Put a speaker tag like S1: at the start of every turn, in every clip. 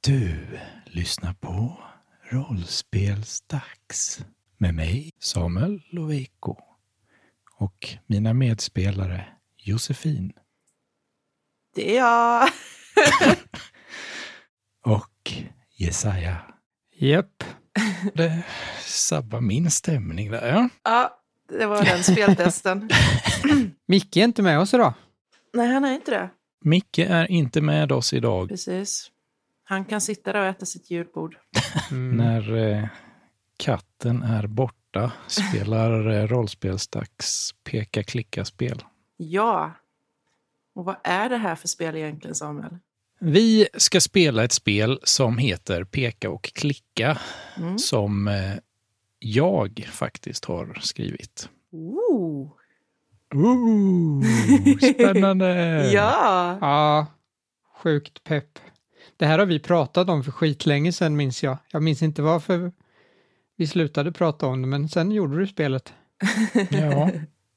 S1: Du lyssnar på Rollspelsdags med mig, Samuel Loveiko och mina medspelare Josefin
S2: Det är jag.
S1: och Jesaja.
S3: Japp.
S1: Det sabbar min stämning där, ja.
S2: Ja, det var den speltesten.
S3: Micke är inte med oss idag.
S2: Nej, han är inte det.
S1: Micke är inte med oss idag
S2: Precis. Han kan sitta där och äta sitt julbord.
S1: när eh, katten är borta, spelar eh, Rollspelsdags peka-klicka-spel.
S2: Ja. Och vad är det här för spel egentligen, Samuel?
S1: Vi ska spela ett spel som heter Peka och klicka
S2: Mm.
S1: som eh, jag faktiskt har skrivit.
S2: Ooh.
S1: Ooh, spännande!
S2: Ja.
S3: Ja, sjukt pepp. Det här har vi pratat om för skitlänge sedan minns jag. Jag minns inte varför vi slutade prata om det, men sen gjorde du spelet.
S1: ja.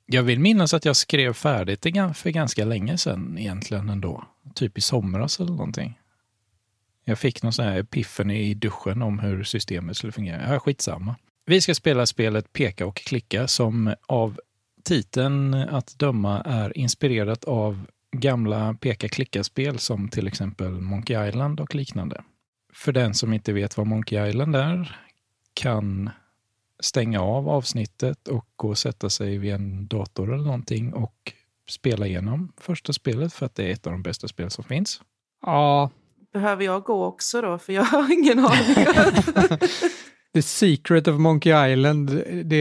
S1: Jag vill minnas att jag skrev färdigt det gan- för ganska länge sedan egentligen ändå. Typ i somras eller någonting. Jag fick någon sån här piffen i duschen om hur systemet skulle fungera. Ja, skitsamma. Vi ska spela spelet Peka och klicka som av titeln att döma är inspirerat av gamla peka-klicka-spel som till exempel Monkey Island och liknande. För den som inte vet vad Monkey Island är kan stänga av avsnittet och gå och sätta sig vid en dator eller någonting och spela igenom första spelet för att det är ett av de bästa spel som finns.
S3: Ja,
S2: Behöver jag gå också då? För jag har ingen aning.
S3: The Secret of Monkey Island, det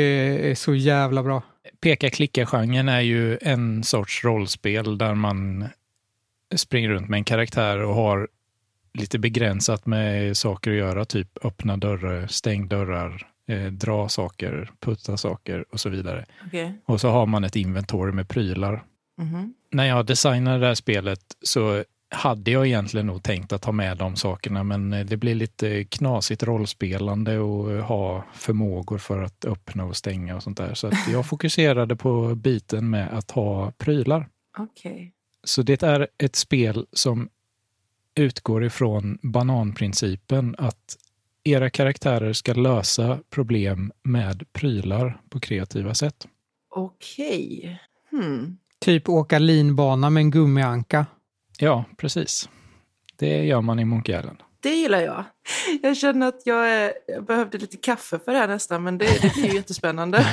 S3: är så jävla bra.
S1: Peka-klicka-genren är ju en sorts rollspel där man springer runt med en karaktär och har lite begränsat med saker att göra, typ öppna dörrar, stäng dörrar, eh, dra saker, putta saker och så vidare.
S2: Okej.
S1: Och så har man ett inventory med prylar
S2: Mhm.
S1: när jag designade det här spelet så hade jag egentligen nog tänkt att ha med de sakerna, men eh, det blir lite knasigt rollspelande och eh, ha förmågor för att öppna och stänga och sånt där. Så att jag fokuserade på biten med att ha prylar.
S2: Okej.
S1: Så det är ett spel som utgår ifrån bananprincipen att era karaktärer ska lösa problem med prylar på kreativa sätt.
S2: Okej. Hmm.
S3: Typ åka linbana med en gummianka.
S1: Ja, precis. Det gör man i Monkey Island.
S2: Det gillar jag. Jag känner att jag, eh, jag behövde lite kaffe för det här nästan, men det, det blir ju jättespännande.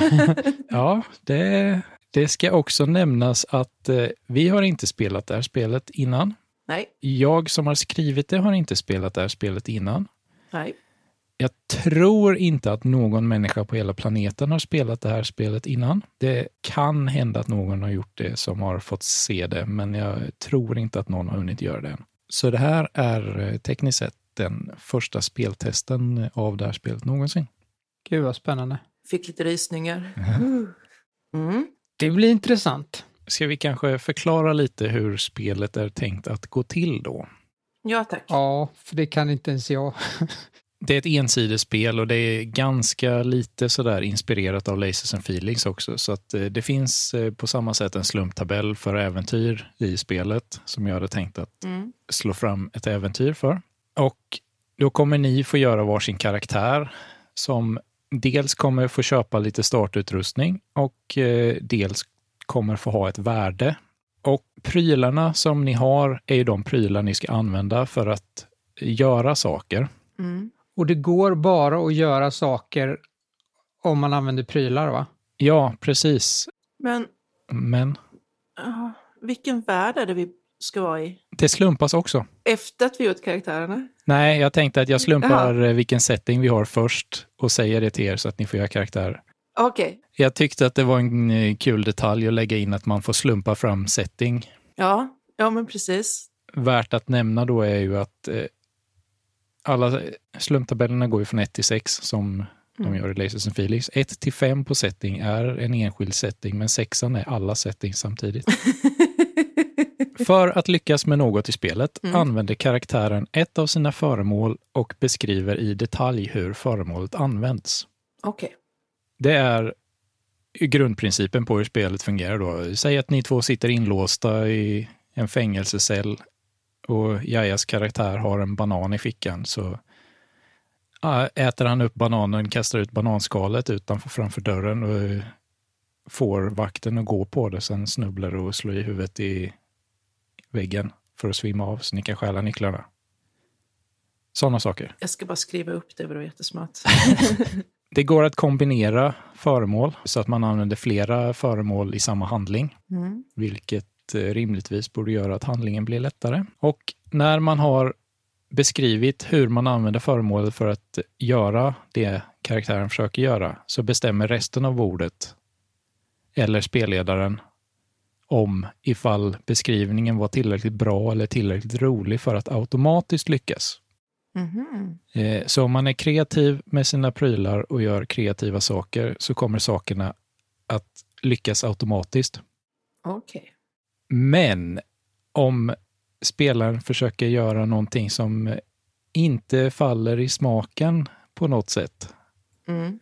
S1: Ja, det, det ska också nämnas att eh, vi har inte spelat det här spelet innan.
S2: Nej,
S1: Jag som har skrivit det har inte spelat det här spelet innan.
S2: nej.
S1: Jag tror inte att någon människa på hela planeten har spelat det här spelet innan. Det kan hända att någon har gjort det som har fått se det, men jag tror inte att någon har hunnit göra det än. Så det här är eh, tekniskt sett den första speltesten av det här spelet någonsin.
S3: Gud vad spännande.
S2: Fick lite rysningar. Mm.
S3: Det blir intressant.
S1: Ska vi kanske förklara lite hur spelet är tänkt att gå till då?
S2: Ja, tack.
S3: Ja, för det kan inte ens jag.
S1: det är ett ensidespel och det är ganska lite sådär inspirerat av Lasers and Felix också. Så att eh, det finns eh, på samma sätt en slumptabell för äventyr i spelet som jag hade tänkt att
S2: Mm.
S1: slå fram ett äventyr för. Och då kommer ni få göra varsin karaktär som dels kommer få köpa lite startutrustning och eh, dels kommer få ha ett värde. Och prylarna som ni har är ju de prylar ni ska använda för att göra saker.
S2: Mm.
S3: Och det går bara att göra saker om man använder prylar, va?
S1: Ja, precis.
S2: Men
S1: Men
S2: ja, vilken värld är det vi ska vara i?
S1: det slumpas också.
S2: Efter att vi gjort karaktärerna?
S1: Nej, jag tänkte att jag slumpar eh, vilken setting vi har först och säger det till er så att ni får göra karaktärer.
S2: Okej.
S1: Jag tyckte att det var en eh, kul detalj att lägga in att man får slumpa fram setting.
S2: Ja. ja, men precis.
S1: Värt att nämna då är ju att eh, alla slumptabellerna går ju från 1 till 6 som de
S2: Mm.
S1: gör i Lasers and Felix. 1 till 5 på setting är en enskild setting, men sexan är alla settings samtidigt. För att lyckas med något i spelet
S2: Mm.
S1: använder karaktären ett av sina föremål och beskriver i detalj hur föremålet används.
S2: Okej.
S1: Det är grundprincipen på hur spelet fungerar. Då. Säg att ni två sitter inlåsta i en fängelsecell och Jajas karaktär har en banan i fickan så ja, äter han upp bananen, kastar ut bananskalet utanför framför dörren och får vakten att gå på det. Sen snubblar och slår i huvudet i väggen för att svimma av så ni kan stjäla nycklarna. Sådana saker.
S2: Jag ska bara skriva upp det, det var jättesmart.
S1: Det går att kombinera föremål så att man använder flera föremål i samma handling,
S2: Mm.
S1: vilket eh, rimligtvis borde göra att handlingen blir lättare. Och när man har beskrivit hur man använder föremålet för att göra det karaktären försöker göra, så bestämmer resten av ordet eller spelledaren om ifall beskrivningen var tillräckligt bra eller tillräckligt rolig för att automatiskt lyckas.
S2: Mhm.
S1: Eh, Så om man är kreativ med sina prylar och gör kreativa saker så kommer sakerna att lyckas automatiskt.
S2: Okej.
S1: Men om spelaren försöker göra någonting som inte faller i smaken på något sätt,
S2: Mm.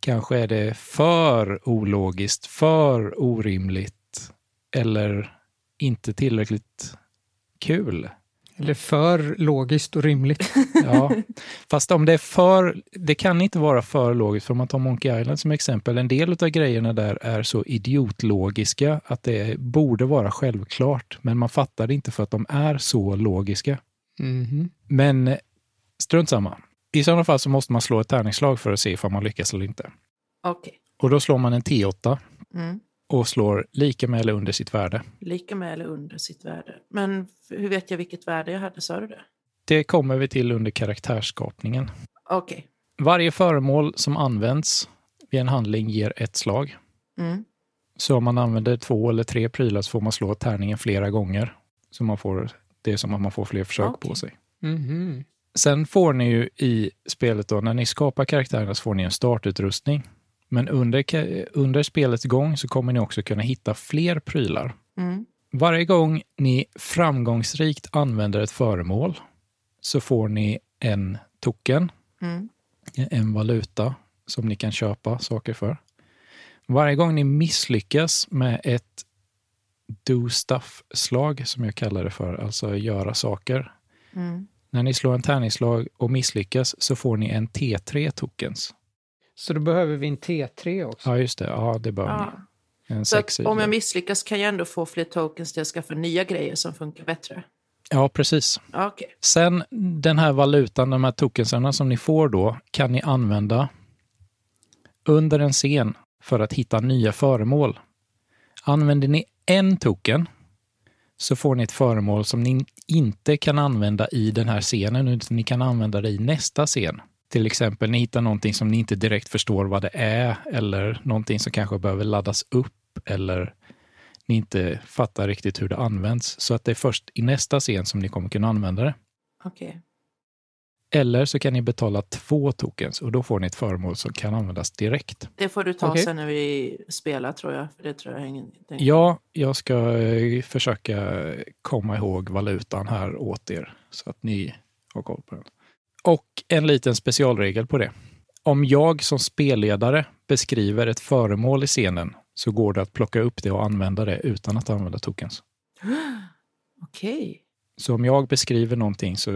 S1: kanske är det för ologiskt, för orimligt eller inte tillräckligt kul.
S3: Eller för logiskt och rimligt.
S1: Ja, fast om det är för... Det kan inte vara för logiskt, för om man tar Monkey Island som exempel, en del av grejerna där är så idiotlogiska att det borde vara självklart, men man fattar det inte för att de är så logiska.
S3: Mhm.
S1: Men eh, strunt samma. I sådana fall så måste man slå ett tärningsslag för att se om man lyckas eller inte.
S2: Okej.
S1: Och då slår man en T8
S2: Mm.
S1: och slår lika med eller under sitt värde.
S2: Lika med eller under sitt värde. Men f- hur vet jag vilket värde jag hade? Sa du det?
S1: Det kommer vi till under karaktärsskapningen.
S2: Okej.
S1: Varje föremål som används vid en handling ger ett slag.
S2: Mm.
S1: Så om man använder två eller tre prylar så får man slå tärningen flera gånger. Så man får, det är som att man får fler försök
S2: Okej.
S1: på sig.
S3: Mhm.
S1: Sen får ni ju i spelet då, när ni skapar karaktärerna så får ni en startutrustning. Men under, ka- under spelets gång så kommer ni också kunna hitta fler prylar.
S2: Mm.
S1: Varje gång ni framgångsrikt använder ett föremål så får ni en token
S2: Mm.
S1: en valuta som ni kan köpa saker för. Varje gång ni misslyckas med ett do stuff-slag, som jag kallar det för, alltså göra saker.
S2: Mm.
S1: När ni slår en tärningsslag och misslyckas så får ni en T3 tokens.
S3: Så då behöver vi en T3 också.
S1: Ja, just det. Ja, det bör
S2: Ja.
S1: ni. En
S2: Så att
S1: sexsidig.
S2: om jag misslyckas kan jag ändå få fler tokens till att skaffa nya grejer som funkar bättre.
S1: Ja, precis.
S2: Ja, Okej.
S1: Sen den här valutan, de här tokensarna som ni får då, kan ni använda under en scen för att hitta nya föremål. Använder ni en token så får ni ett föremål som ni inte kan använda i den här scenen, utan ni kan använda det i nästa scen. Till exempel, ni hittar någonting som ni inte direkt förstår vad det är, eller någonting som kanske behöver laddas upp, eller ni inte fattar riktigt hur det används. Så att det är först i nästa scen som ni kommer kunna använda det.
S2: Okej.
S1: Eller så kan ni betala två tokens och då får ni ett föremål som kan användas direkt.
S2: Det får du ta
S3: Okej.
S2: sen när vi spelar tror jag. För det tror jag ingen... tänker-
S1: Ja, jag ska eh, försöka komma ihåg valutan här åt er så att ni har koll på den. Och en liten specialregel på det. Om jag som spelledare beskriver ett föremål i scenen så går det att plocka upp det och använda det utan att använda tokens.
S2: Okej.
S1: Så om jag beskriver någonting så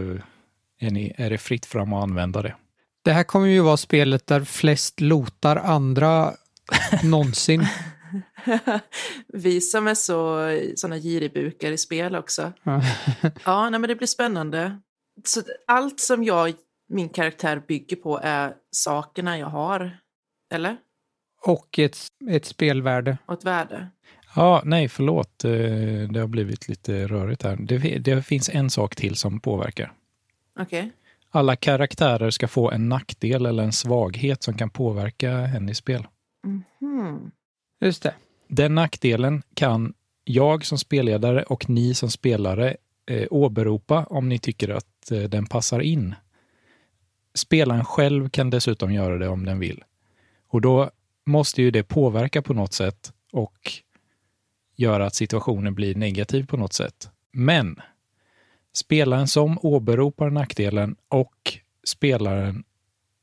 S1: är, ni, är det fritt fram att använda det.
S3: Det här kommer ju vara spelet där flest lotar andra någonsin.
S2: vi som är så, såna giribukar i spel också.
S3: Ja.
S2: Ja, nej, men det blir spännande. Så allt som jag, min karaktär bygger på är sakerna jag har, eller?
S3: Och ett, ett spelvärde.
S2: Och ett värde.
S1: Ja, nej, förlåt. Eh, Det har blivit lite rörigt här. Det, fi- det finns en sak till som påverkar.
S2: Okej.
S1: Alla karaktärer ska få en nackdel eller en svaghet som kan påverka henne i spel.
S2: Mhm.
S3: Just det.
S1: Den nackdelen kan jag som spelledare och ni som spelare eh, åberopa om ni tycker att eh, den passar in. Spelaren själv kan dessutom göra det om den vill. Och då måste ju det påverka på något sätt och göra att situationen blir negativ på något sätt. Men spelaren som åberopar nackdelen och spelaren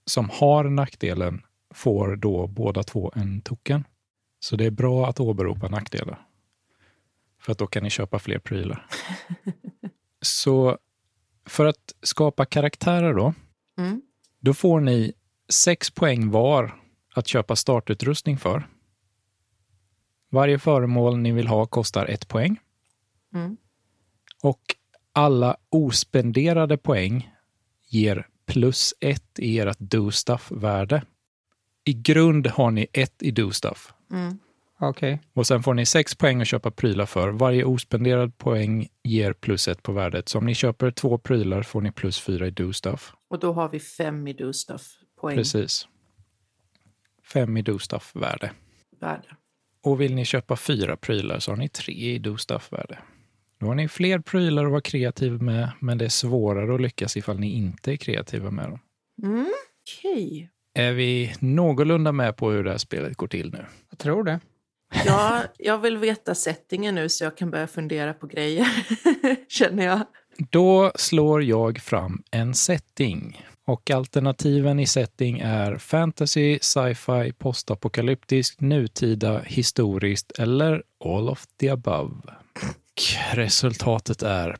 S1: som har nackdelen får då båda två en token. Så det är bra att åberopa nackdelar. För att då kan ni köpa fler prylar. Så för att skapa karaktärer då,
S2: Mm.
S1: då får ni sex poäng var att köpa startutrustning för. Varje föremål ni vill ha kostar ett poäng.
S2: Mm.
S1: Och alla ospenderade poäng ger plus ett i ert do stuff-värde. I grund har ni ett i do stuff.
S2: Mm.
S3: Okej.
S1: Och sen får ni sex poäng att köpa prylar för. Varje ospenderad poäng ger plus ett på värdet. Så om ni köper två prylar får ni plus fyra i do stuff.
S2: Och då har vi fem i do stuff poäng
S1: Precis. Fem i do stuff-värde.
S2: värde.
S1: Och vill ni köpa fyra prylar så har ni tre i do stuff-värde. Då har ni fler prylar att vara kreativ med, men det är svårare att lyckas ifall ni inte är kreativa med dem.
S2: Mm. Okej.
S1: Är vi någorlunda med på hur det här spelet går till nu?
S3: Jag tror det.
S2: Ja, jag vill veta settingen nu så jag kan börja fundera på grejer, känner jag.
S1: Då slår jag fram en setting. Och alternativen i setting är fantasy, sci-fi, postapokalyptisk, nutida, historiskt eller all of the above. Och resultatet är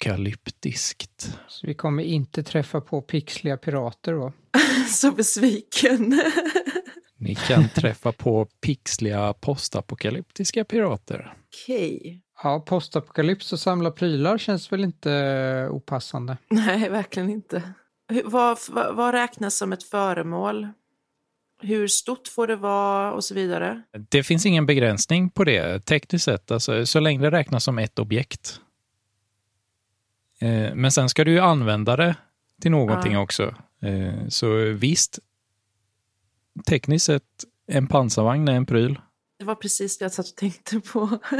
S1: postapokalyptiskt.
S3: Så vi kommer inte träffa på pixliga pirater då.
S2: Så besviken.
S1: Ni kan träffa på pixliga postapokalyptiska pirater.
S2: Okej.
S3: Ja, postapokalyps och samla prylar känns väl inte eh, opassande.
S2: Nej, verkligen inte. Hur- Vad, vad, vad räknas som ett föremål? Hur stort får det vara och så vidare?
S1: Det finns ingen begränsning på det tekniskt sett, alltså, så länge det räknas som ett objekt. Eh, Men sen ska du ju använda det till någonting
S2: Ja.
S1: också. Eh, Så visst, tekniskt sett, en pansarvagn är en pryl.
S2: Det var precis det jag satt och tänkte på.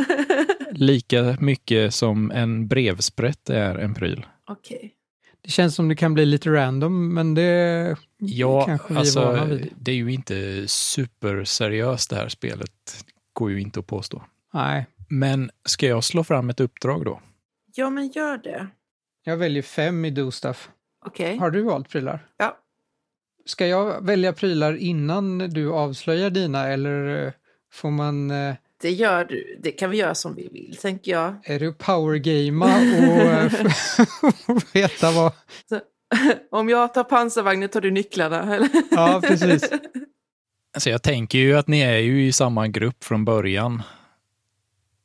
S1: Lika mycket som en brevsprätt är en pryl.
S2: Okej.
S3: Det känns som det kan bli lite random, men det
S1: Ja,
S3: kanske vi är vana
S1: alltså,
S3: vid.
S1: det är ju inte superseriöst det här spelet. Går ju inte att påstå.
S3: Nej,
S1: Men ska jag slå fram ett uppdrag då?
S2: Ja, men gör det.
S3: jag väljer fem i do stuff.
S2: Okej.
S3: Har du valt prylar?
S2: Ja.
S3: Ska jag välja prylar innan du avslöjar dina eller eh, får man... eh,
S2: Det gör du. Det kan vi göra som vi vill, tänker jag.
S3: Är du powergamea och eh, får veta vad...
S2: Om jag tar pansarvagnen tar du nycklarna, eller?
S3: Ja, precis.
S1: Alltså jag tänker ju att ni är ju i samma grupp från början.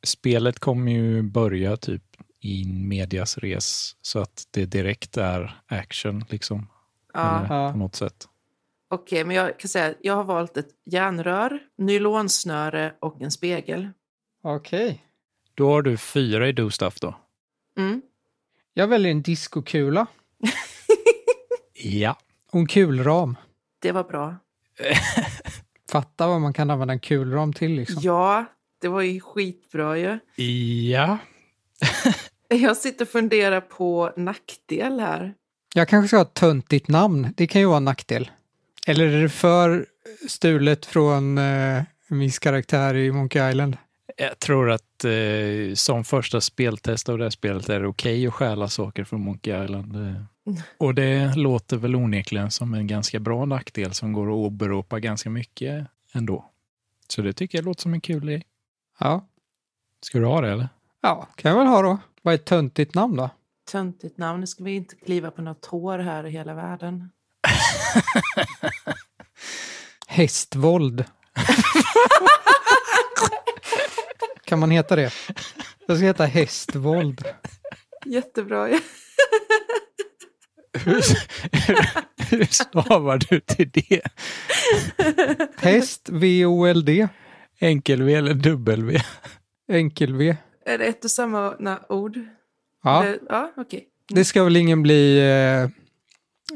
S1: Spelet kommer ju börja typ i medias res, så att det direkt är action liksom.
S2: Ja.
S1: Eller
S3: Ja.
S1: på något sätt.
S2: Okej, men jag kan säga att jag har valt ett järnrör, nylonsnöre och en spegel.
S3: Okej.
S1: Då har du fyra i do stuff då.
S2: Mm.
S3: Jag väljer en diskokula
S1: Ja.
S3: och en kulram.
S2: Det var bra.
S3: Fatta vad man kan använda en kulram till liksom.
S2: Ja, det var ju skitbra ju.
S1: Ja.
S2: Jag sitter och funderar på nackdel här.
S3: Jag kanske ska ha ett töntigt namn. Det kan ju vara en nackdel. Eller är det för stulet från eh, en viss karaktär i Monkey Island?
S1: Jag tror att eh, som första speltest av det här spelet är det okej att stjäla saker från Monkey Island. eh. Och det låter väl onekligen som en ganska bra nackdel som går att åberopa ganska mycket ändå. Så det tycker jag låter som en kul grej.
S3: Ja.
S1: Ska du ha det eller?
S3: Ja, kan jag väl ha då. Vad är ett töntigt namn då?
S2: Töntigt namn, nu ska vi inte kliva på några tår här i hela världen.
S3: Hästvåld. kan man heta det? Jag ska heta hästvåld.
S2: Jättebra ju.
S1: Hur, hur stavar du till det?
S3: Häst, V-O-L-D,
S1: Enkel-V eller dubbel-V?
S3: enkel-V.
S2: Är det ett och samma na- ord?
S3: Ja,
S2: Eller- ja okej.
S3: det ska väl ingen bli eh,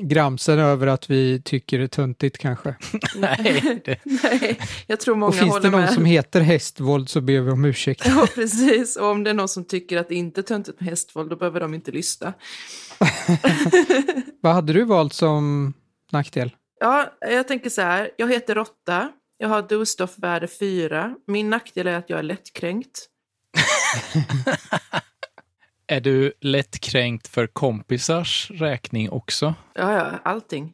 S3: gramsen över att vi tycker det är töntigt kanske.
S1: Nej, det,
S2: Nej, jag tror många
S3: Och finns det
S2: håller
S3: någon
S2: med.
S3: som heter hästvåld så ber vi om ursäkt.
S2: Ja, precis. Och om det är någon som tycker att det inte är töntigt med hästvåld, då behöver de inte lyssna.
S3: Vad hade du valt som nackdel?
S2: Ja, jag tänker så här. Jag heter Rotta. Jag har dostoff-värde 4. Min nackdel är att jag är lättkränkt.
S1: är du lättkränkt för kompisars räkning också?
S2: Ja, ja, allting.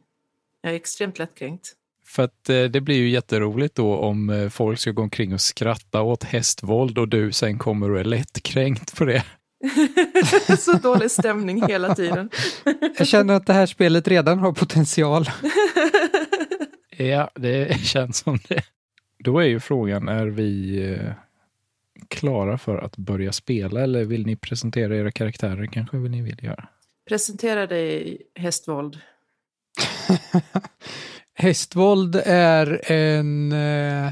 S2: Jag är extremt lättkränkt.
S1: För att eh, det blir ju jätteroligt då om eh, folk ska gå omkring och skratta åt hästvåld och du sen kommer och är lättkränkt på det.
S2: så dålig stämning hela tiden.
S3: Jag känner att det här spelet redan har potential.
S1: Ja, det känns som det. Då är ju frågan, är vi eh, klara för att börja spela eller vill ni presentera era karaktärer kanske vill ni vill göra?
S2: Presentera dig, hästvåld.
S3: Hästvåld är en eh,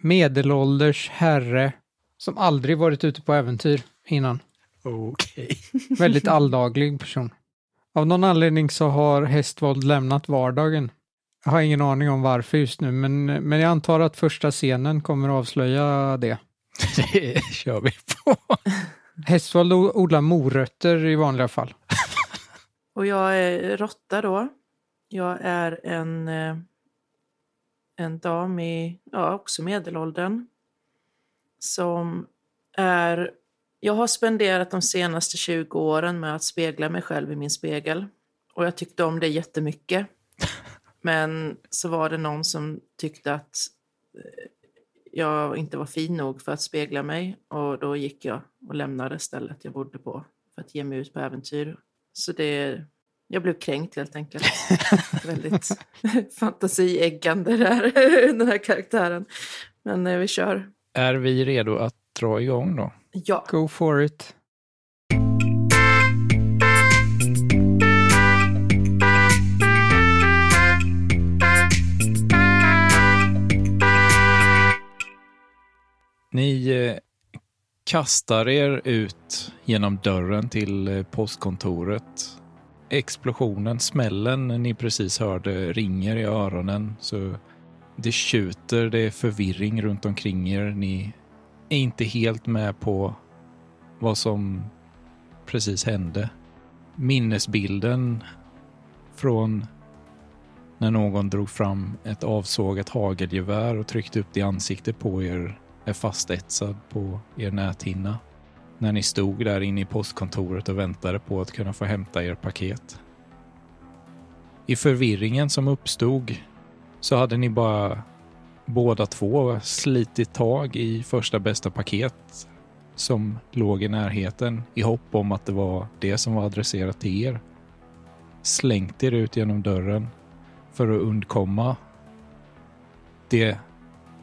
S3: medelålders herre som aldrig varit ute på äventyr innan.
S1: Okej.
S3: Väldigt alldaglig person. Av någon anledning så har Hästvåld lämnat vardagen. Jag har ingen aning om varför just nu, men, men jag antar att första scenen kommer att avslöja det.
S1: Det kör vi på.
S3: Hästvåld o- odlar morötter i vanliga fall.
S2: Och jag är råtta då. Jag är en, eh, en dam i, ja, också medelåldern. Som är, jag har spenderat de senaste 20 åren med att spegla mig själv i min spegel. Och jag tyckte om det jättemycket. Men så var det någon som tyckte att eh, jag inte var fin nog för att spegla mig. Och då gick jag och lämnade stället jag bodde på för att ge mig ut på äventyr. Så det, jag blev kränkt helt enkelt. Väldigt fantasieggande där, den här karaktären. Men eh, vi kör.
S1: Är vi redo att dra igång då?
S2: Ja.
S3: Go for it.
S1: Ni eh, kastar er ut genom dörren till eh, postkontoret. Explosionen, smällen ni precis hörde ringer i öronen så det tjuter, det är förvirring runt omkring er. Ni är inte helt med på vad som precis hände. Minnesbilden från när någon drog fram ett avsågat hagelgevär och tryckte upp det i ansiktet på er är fastetsad på er näthinna. När ni stod där inne i postkontoret och väntade på att kunna få hämta er paket. I förvirringen som uppstod så hade ni bara båda två slitit tag i första bästa paket som låg i närheten i hopp om att det var det som var adresserat till er. Slängt er ut genom dörren för att undkomma det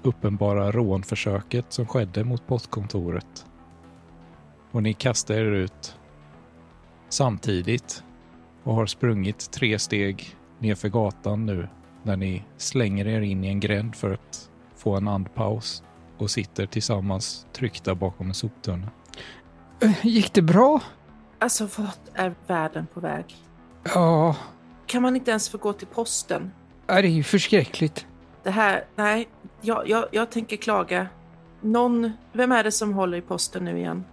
S1: uppenbara rånförsöket som skedde mot postkontoret. Och ni kastar er ut samtidigt och har sprungit tre steg nerför gatan nu när ni slänger er in i en gränd för att få en andpaus och sitter tillsammans tryckta bakom en soptunna.
S3: Eh, Gick det bra?
S2: Alltså, vart är världen på väg?
S3: Ja,
S2: Kan man inte ens få gå till posten?
S3: Ja, det är ju förskräckligt.
S2: Det här, nej, jag, jag, jag tänker klaga. Någon, vem är det som håller i posten nu igen?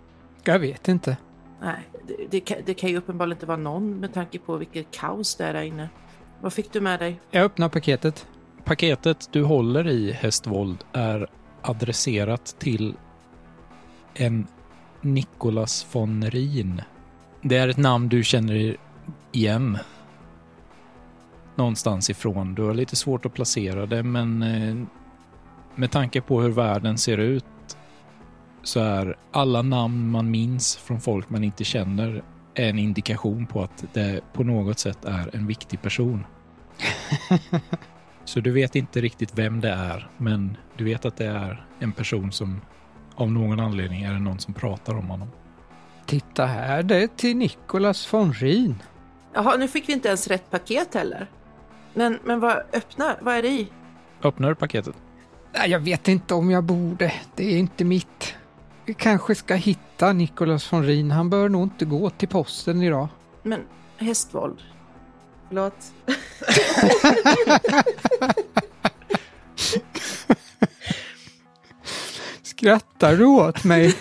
S3: Jag vet inte.
S2: Nej, det, det, kan, det kan ju uppenbarligen inte vara någon med tanke på vilket kaos det är där inne. Vad fick du med dig?
S3: Jag öppnar paketet.
S1: Paketet du håller i, Hästvold, är adresserat till en Nicolas von Rhin. Det är ett namn du känner igen. Någonstans ifrån. Du har lite svårt att placera det, men eh, med tanke på hur världen ser ut så är alla namn man minns från folk man inte känner en indikation på att det på något sätt är en viktig person. Så du vet inte riktigt vem det är, men du vet att det är en person som av någon anledning är det någon som pratar om honom.
S3: Titta här, det är till Nicolas von Rhin.
S2: Jaha, nu fick vi inte ens rätt paket heller. Men, men vad, öppna, vad är det i?
S1: Öppnar du paketet?
S3: Nej, jag vet inte om jag borde. Det är inte mitt. Vi kanske ska hitta Nicolas von Rhin. Han bör nog inte gå till posten idag.
S2: Men hästvåld. Förlåt.
S3: Skrattar du åt mig?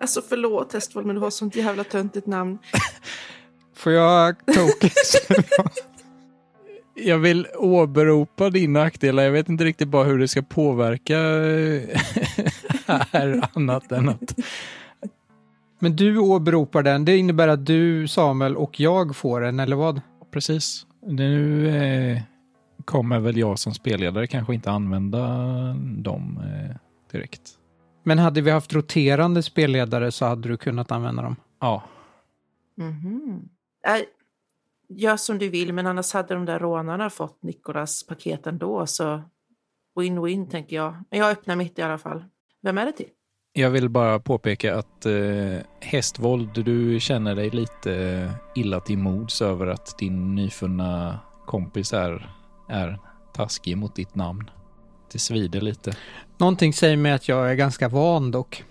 S2: Alltså förlåt hästvåld, men du har sånt jävla töntigt namn.
S3: Får jag tokis?
S1: Jag vill åberopa din nackdelar. Jag vet inte riktigt bara hur det ska påverka eh, här annat än att...
S3: Men du åberopar den. Det innebär att du, Samuel och jag får den, eller vad?
S1: Precis. Nu eh, kommer väl jag som spelledare kanske inte använda dem eh, direkt.
S3: Men hade vi haft roterande spelledare så hade du kunnat använda dem.
S1: Ja,
S2: Mhm. Nej, gör som du vill, men annars hade de där rånarna fått Nikolas paket ändå. Så win-win, tänker jag. Men jag öppnar mitt i alla fall. Vem är det till?
S1: Jag vill bara påpeka att eh, hästvåld, du känner dig lite illa till mods över att din nyfunna kompis är, är taskig mot ditt namn. Det svider lite.
S3: Någonting säger mig att jag är ganska van dock.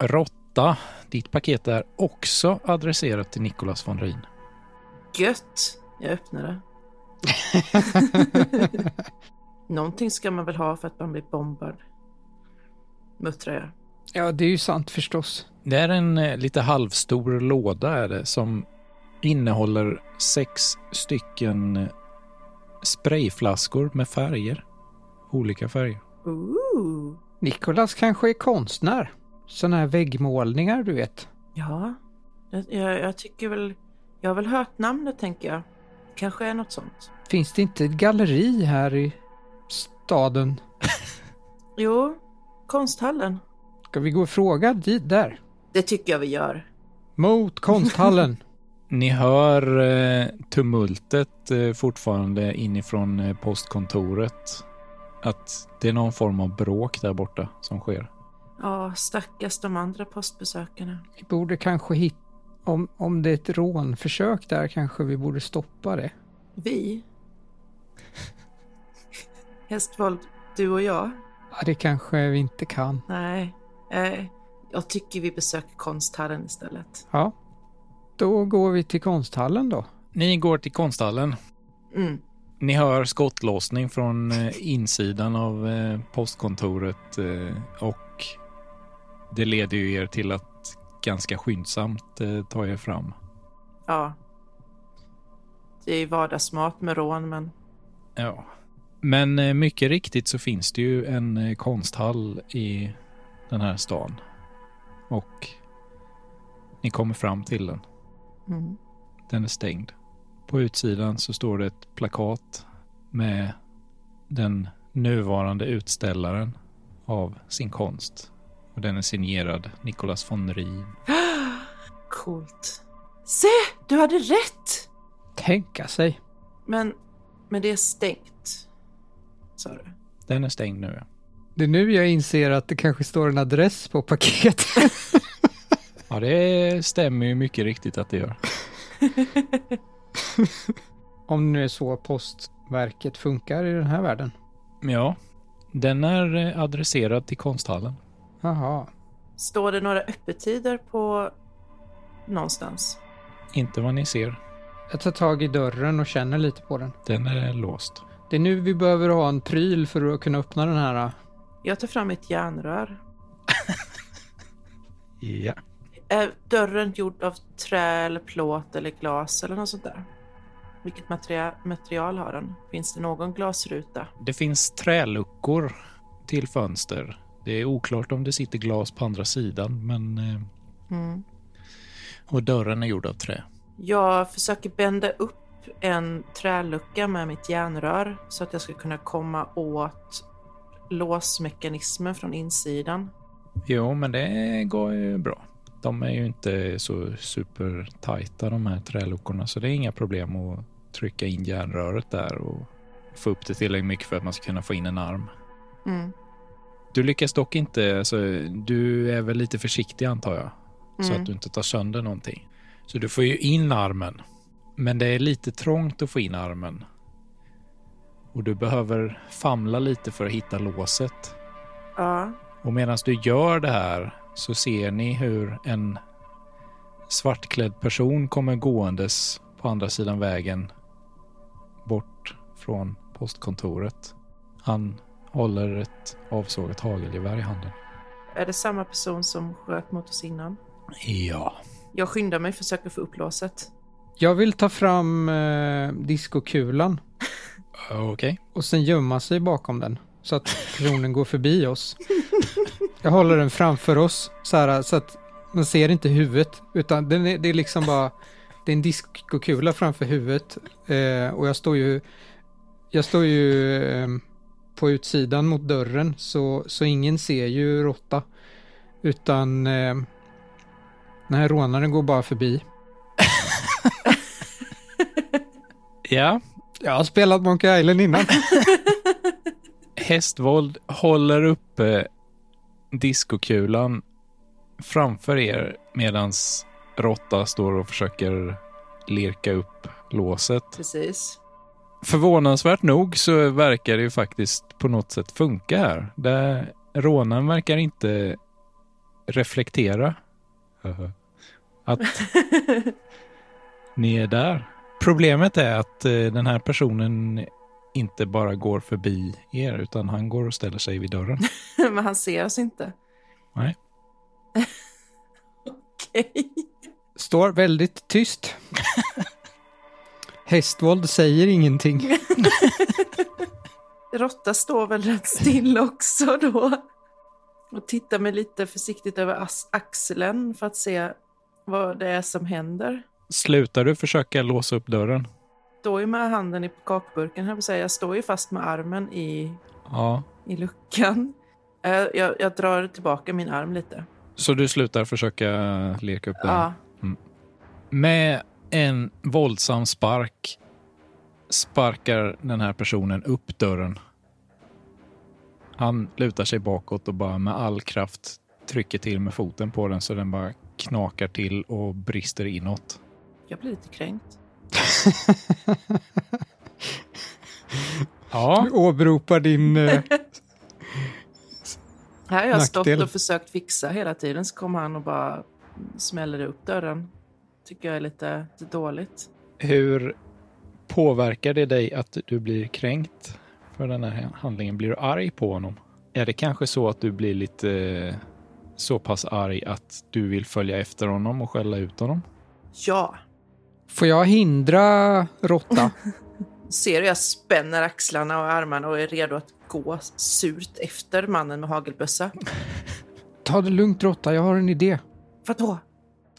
S1: Råtta, ditt paket är också adresserat till Nicolas von Ryn.
S2: Gött! Jag öppnar det. Någonting ska man väl ha för att man blir bombad. Muttrar jag.
S3: Ja, det är ju sant förstås.
S1: Det är en eh, lite halvstor låda är det, som innehåller sex stycken eh, sprayflaskor med färger. Olika färger.
S2: Ooh.
S3: Nikolas kanske är konstnär. Sådana här väggmålningar, du vet.
S2: Ja, jag, jag, jag tycker väl... Jag har väl hört namnet, tänker jag. Kanske är något sånt.
S3: Finns det inte ett galleri här i staden?
S2: Jo, konsthallen.
S3: Ska vi gå och fråga dit där?
S2: Det tycker jag vi gör.
S3: Mot konsthallen.
S1: Ni hör eh, tumultet eh, fortfarande inifrån eh, postkontoret. Att det är någon form av bråk där borta som sker.
S2: Ja, stackars de andra postbesökarna.
S3: vi borde kanske hitta... Om, om det är ett rånförsök där kanske vi borde stoppa det.
S2: Vi. Hästvold, du och jag.
S3: Ja, det kanske vi inte kan.
S2: Nej, eh, jag tycker vi besöker konsthallen istället.
S3: Ja. Då går vi till konsthallen då.
S1: Ni går till konsthallen.
S2: Mm.
S1: Ni hör skottlossning från eh, insidan av eh, postkontoret eh, och det leder ju er till att ganska skyndsamt eh, ta er fram.
S2: Ja. Det är ju vardagsmat med rån, men
S1: Ja. Men eh, mycket riktigt så finns det ju en eh, konsthall i den här stan. Och ni kommer fram till den.
S2: mm.
S1: Den är stängd. På utsidan så står det ett plakat med den nuvarande utställaren av sin konst. Och den är signerad Nicolas von Ryn.
S2: coolt. Se, du hade rätt!
S3: Tänka sig.
S2: Men, men det är stängt, sa du.
S1: Den är stängd nu. ja.
S3: Det är nu jag inser att det kanske står en adress på paketet.
S1: Ja, det stämmer ju mycket riktigt att det gör.
S3: Om det nu är så postverket funkar i den här världen.
S1: Ja, den är eh, adresserad till konsthallen.
S3: Jaha.
S2: Står det några öppettider på någonstans?
S1: Inte vad ni ser.
S3: Jag tar tag i dörren och känner lite på den.
S1: Den är låst.
S3: Det är nu vi behöver ha en pryl för att kunna öppna den här.
S2: Jag tar fram ett järnrör.
S1: Ja.
S2: Är dörren gjord av trä, eller plåt eller glas eller något sånt där? Vilket materia- material har den? Finns det någon glasruta?
S1: Det finns träluckor till fönster. Det är oklart om det sitter glas på andra sidan, men... eh,
S2: Mm.
S1: Och dörren är gjord av trä.
S2: Jag försöker bända upp en trälucka med mitt järnrör så att jag ska kunna komma åt låsmekanismen från insidan.
S1: Jo, men det går ju bra. De är ju inte så supertajta de här träluckorna, så det är inga problem att trycka in järnröret där och få upp det tillräckligt mycket för att man ska kunna få in en arm.
S2: Mm.
S1: Du lyckas dock inte, alltså, du är väl lite försiktig antar jag, så
S2: Mm.
S1: att du inte tar sönder någonting. Så du får ju in armen, men det är lite trångt att få in armen. Och du behöver famla lite för att hitta låset.
S2: Ja.
S1: Och medan du gör det här så ser ni hur en svartklädd person kommer gåendes på andra sidan vägen bort från postkontoret. Han håller ett avsågat hagelgevär i handen.
S2: Är det samma person som sköt mot oss innan?
S1: Ja.
S2: Jag skyndar mig och försöker få upp låset.
S3: Jag vill ta fram eh, diskokulan
S1: Okej.
S3: och sen gömma sig bakom den så att personen går förbi oss. Jag håller den framför oss så, här, så att man ser inte huvudet utan den är, det är liksom bara det är en diskokula framför huvudet eh, och jag står ju jag står ju eh, på utsidan mot dörren så, så ingen ser ju Råtta. Utan eh, den här rånaren går bara förbi.
S1: Ja,
S3: Jag har spelat Monkey Island innan.
S1: Hästvold håller uppe diskokulan framför er medan Råtta står och försöker lirka upp låset.
S2: Precis.
S1: Förvånansvärt nog så verkar det ju faktiskt på något sätt funka här. Där rånaren verkar inte reflektera. Att ni är där. Problemet är att eh, den här personen inte bara går förbi er utan han går och ställer sig vid dörren.
S2: Men han ser oss inte.
S1: Nej.
S2: Okej.
S3: Står väldigt tyst. Hästvold säger ingenting.
S2: Råtta står väl rätt still också då. Och tittar mig lite försiktigt över as- axeln för att se vad det är som händer.
S1: Slutar du försöka låsa upp dörren?
S2: Står ju med handen i kakburken, här säga. Jag står ju fast med armen i,
S1: Ja.
S2: i luckan. Eh, Jag, jag drar tillbaka min arm lite.
S1: Så du slutar försöka lirka upp dörren?
S2: Ja,
S1: Med en våldsam spark sparkar den här personen upp dörren. Han lutar sig bakåt och bara med all kraft trycker till med foten på den så den bara knakar till och brister inåt.
S2: jag blir lite kränkt.
S1: Ja,
S3: Du åberopar din... Eh,
S2: Här har jag
S3: Nackdel.
S2: stått och försökt fixa hela tiden så kom han och bara smäller upp dörren. Tycker jag är lite, lite dåligt.
S1: hur påverkar det dig att du blir kränkt för den här handlingen? Blir du arg på honom? Är det kanske så att du blir lite eh, så pass arg att du vill följa efter honom och skälla ut honom?
S2: Ja,
S3: får jag hindra Råtta?
S2: ser hur jag spänner axlarna och armarna och är redo att gå surt efter mannen med hagelbössa.
S3: Ta det lugnt Råtta, jag har en idé.
S2: Vadå?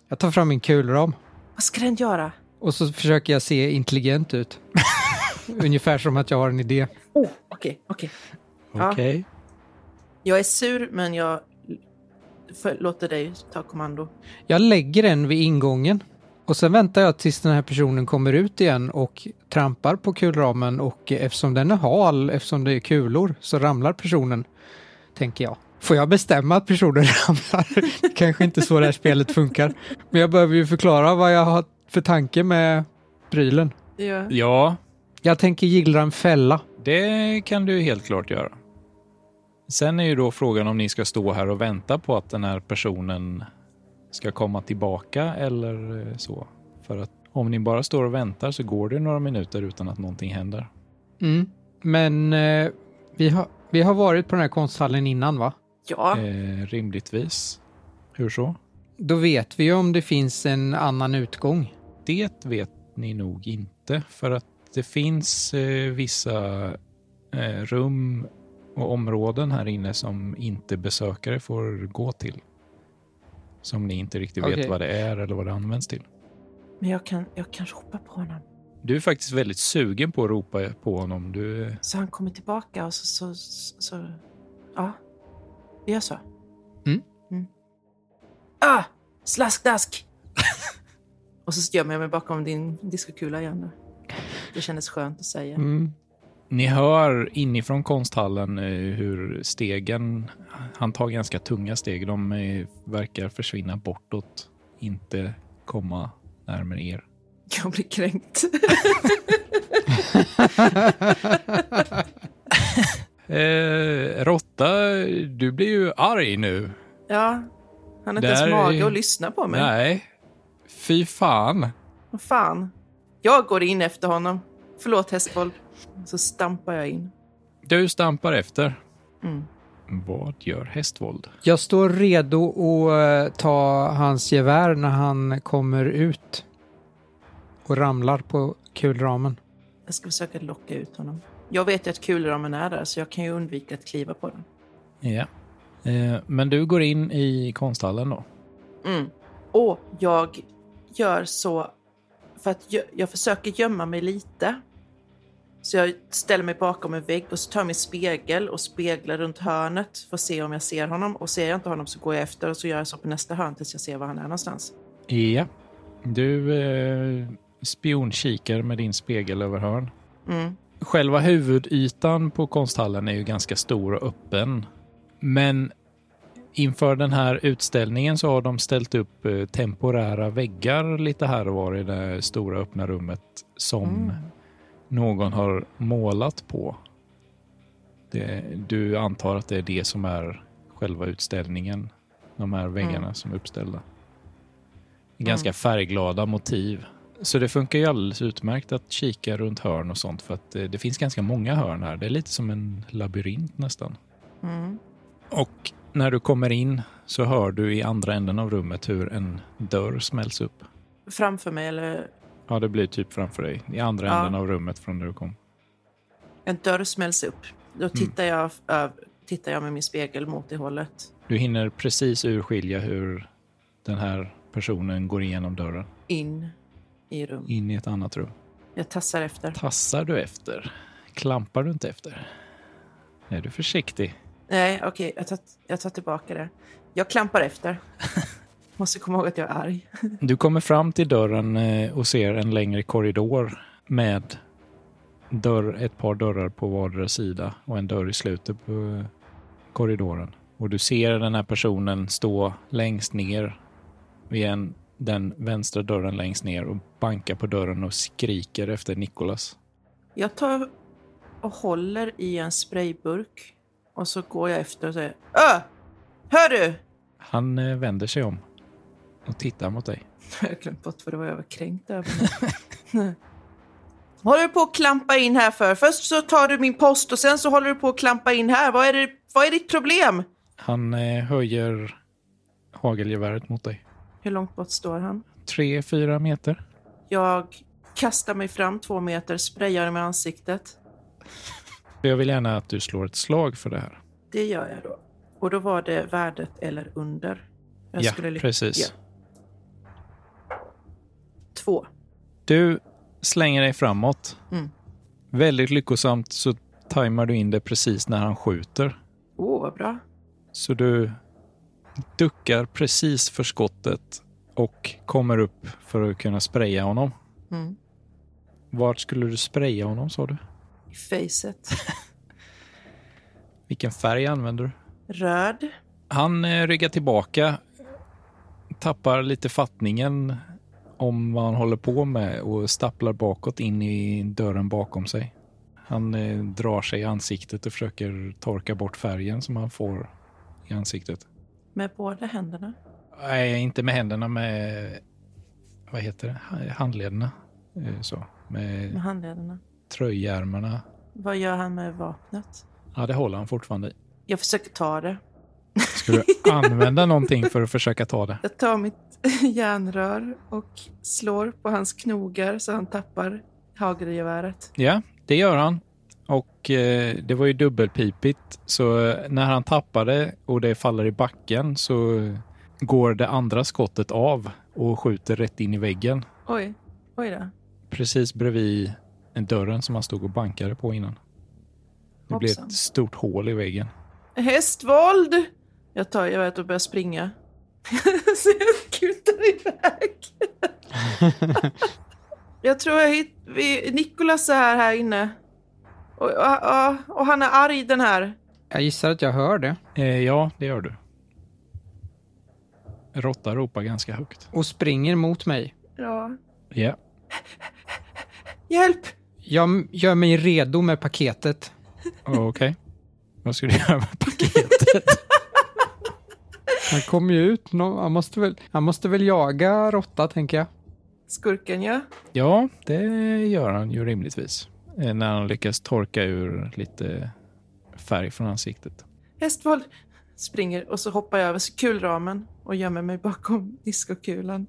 S3: Jag tar fram min kulram
S2: Vad ska den göra?
S3: och så försöker jag se intelligent ut. Ungefär som att jag har en idé.
S2: Oh, okej, okej. Ja.
S1: Okej.
S2: Jag är sur, men jag för, låter dig ta kommando.
S3: Jag lägger den vid ingången och sen väntar jag tills den här personen kommer ut igen och trampar på kulramen och eftersom den är hal, eftersom det är kulor, så ramlar personen, tänker jag. Får jag bestämma att personen ramlar? Det kanske inte är så det här spelet funkar. Men jag behöver ju förklara vad jag har för tanke med prylen.
S2: Ja.
S1: Ja,
S3: Jag tänker gillra en fälla.
S1: det kan du helt klart göra. Sen är ju då frågan om ni ska stå här och vänta på att den här personen ska komma tillbaka eller eh, så. För att om ni bara står och väntar så går det några minuter utan att någonting händer.
S3: Mm. Men eh, vi, har, vi har varit på den här konsthallen innan va?
S2: ja.
S1: Eh, rimligtvis. Hur så?
S3: Då vet vi ju om det finns en annan utgång.
S1: Det vet ni nog inte för att det finns eh, vissa eh, rum och områden här inne som inte besökare får gå till. Som ni inte riktigt vet
S3: Okej.
S1: vad det är eller vad det används till.
S2: Men jag kan, jag kan ropa på honom.
S1: Du är faktiskt väldigt sugen på att ropa på honom. Du,
S2: Så han kommer tillbaka och så... så, så, så ja, vi gör så.
S3: Mm.
S2: Ah! Slaskdask! och så gömmer jag mig bakom din diskokula igen. då. Det kändes skönt att säga.
S3: Mm.
S1: ni hör inifrån konsthallen eh, hur stegen, han tar ganska tunga steg, de eh, verkar försvinna bortåt, inte komma närmare er.
S2: Jag blir kränkt.
S1: Eh, Råtta, du blir ju arg nu.
S2: ja, han har inte
S1: Där
S2: ens
S1: är-
S2: mage att lyssna på mig.
S1: Nej. Fy fan.
S2: Vad fan. Jag går in efter honom. Förlåt hästboll. Så stampar jag in.
S1: Du stampar efter.
S2: Mm.
S1: Vad gör hästvold?
S3: Jag står redo att eh, ta hans gevär när han kommer ut och ramlar på kulramen.
S2: Jag ska försöka locka ut honom. Jag vet ju att kulramen är där så jag kan ju undvika att kliva på den.
S1: Ja. Eh, men du går in i konsthallen då.
S2: Mm. Och jag gör så för att jag, jag försöker gömma mig lite. Så jag ställer mig bakom en vägg och så tar jag min spegel och speglar runt hörnet för att se om jag ser honom. Och ser jag inte honom så går jag efter och så gör jag så på nästa hörn tills jag ser var han är någonstans.
S1: Ja. Du eh, spionkikar med din spegel över hörn.
S2: Mm.
S1: Själva huvudytan på konsthallen är ju ganska stor och öppen. Men inför den här utställningen så har de ställt upp eh, temporära väggar lite här och var i det här stora öppna rummet som någon har målat på. Det, du antar att det är det som är själva utställningen. De här väggarna som är uppställda. Ganska färgglada motiv. Så det funkar ju alldeles utmärkt att kika runt hörn och sånt för att eh, det finns ganska många hörn här. Det är lite som en labyrint nästan.
S2: Mm.
S1: Och när du kommer in så hör du i andra änden av rummet hur en dörr smälls upp.
S2: Framför mig eller
S1: Ja, det blir typ framför dig. I andra
S2: Ja.
S1: änden av rummet från där du kom.
S2: en dörr smälls upp. Då tittar, jag, ö, tittar jag med min spegel mot det hållet.
S1: Du hinner precis urskilja hur den här personen går igenom dörren
S2: In i rum.
S1: in i ett annat rum.
S2: Jag tassar efter.
S1: Tassar du efter? Klampar du inte efter? Är du försiktig?
S2: Nej, okej, jag, tar, jag tar tillbaka det. Jag klampar efter. Måste komma ihåg att jag är arg.
S1: Du kommer fram till dörren eh, och ser en längre korridor med dörr, ett par dörrar på vardera sida och en dörr i slutet på eh, korridoren. Och du ser den här personen stå längst ner vid en, den vänstra dörren längst ner och banka på dörren och skriker efter Nikolas.
S2: Jag tar och håller i en sprayburk och så går jag efter och säger Ö! Hör du!
S1: Han eh, vänder sig om och tittar mot dig.
S2: Jag har glömt bort vad det var jag var kränkt över. håller du på att klampa in här för? Först så tar du min post och sen så håller du på att klampa in här. Vad är, det, vad är ditt problem?
S1: Han eh, höjer hagelgeväret mot dig.
S2: Hur långt bort står han?
S1: Tre, fyra meter.
S2: Jag kastar mig fram två meter, sprayar med ansiktet.
S1: Jag vill gärna att du slår ett slag för det här.
S2: Det gör jag då. Och då var det värdet eller under. Jag
S1: ja,
S2: skulle lyck-
S1: precis.
S2: Ja. Två.
S1: Du slänger dig framåt.
S2: Mm.
S1: Väldigt lyckosamt så tajmar du in det precis när han skjuter.
S2: Åh, vad bra.
S1: Så du duckar precis för skottet och kommer upp för att kunna spraya honom.
S2: Mm.
S1: Vart skulle du spraya honom sa du?
S2: I facet.
S1: Vilken färg använder du?
S2: Röd.
S1: Han eh, ryggar tillbaka, tappar lite fattningen om vad han håller på med och stapplar bakåt in i dörren bakom sig. Han eh, drar sig i ansiktet och försöker torka bort färgen som han får i ansiktet.
S2: Med båda händerna.
S1: Nej, inte med händerna, med vad heter det? Ha- handlederna. Eh, Så. Med
S2: Med handlederna.
S1: tröjärmarna.
S2: Vad gör han med vapnet?
S1: Ja, det håller han fortfarande i.
S2: Jag försöker ta det.
S1: Ska du använda någonting för att försöka ta det?
S2: Jag tar mitt järnrör och slår på hans knogar så han tappar hagelgeväret.
S1: Ja, det gör han. Och eh, det var ju dubbelpipigt, så eh, när han tappade och det faller i backen så eh, går det andra skottet av och skjuter rätt in i väggen.
S2: Oj, oj då.
S1: Precis bredvid dörren som han stod och bankade på innan. Det blir
S2: Hoppsan.
S1: ett stort hål i väggen.
S2: Hästvåld! Jag tar geväret och börjar springa. så jag skutar iväg. jag tror jag hitt... vi- Nikolas är här, här inne. Och, och, och han är arg den här.
S3: Jag gissar att jag hör det.
S1: Eh, ja, det gör du. Råtta ropar ganska högt.
S3: Och springer mot mig.
S2: Ja.
S1: Ja,
S2: Hjälp!
S3: Jag m- gör mig redo med paketet.
S1: okej. Vad ska du göra med paketet?
S3: Han kommer ju ut. nå- Han måste väl, han måste väl jaga råtta, tänker jag.
S2: Skurken, ja.
S1: Ja, det gör han ju rimligtvis. Eh, När han lyckas torka ur lite färg från ansiktet.
S2: Hästvåld! Springer och så hoppar jag över kulramen och gömmer mig bakom diskokulan.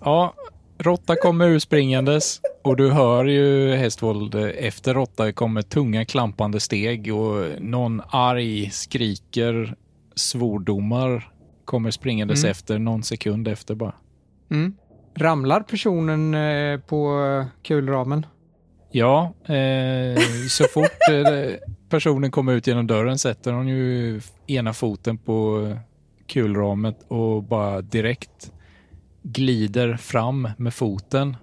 S1: Ja, Råtta kommer ur springandes och du hör ju Hästvold eh, efter Råtta kommer tunga klampande steg och någon arg skriker svordomar kommer springandes
S3: Mm.
S1: efter någon sekund efter bara.
S3: Mm. Ramlar personen eh, på eh, kulramen?
S1: Ja, eh, så fort eh, personen kommer ut genom dörren sätter hon ju ena foten på kulramet och bara direkt glider fram med foten.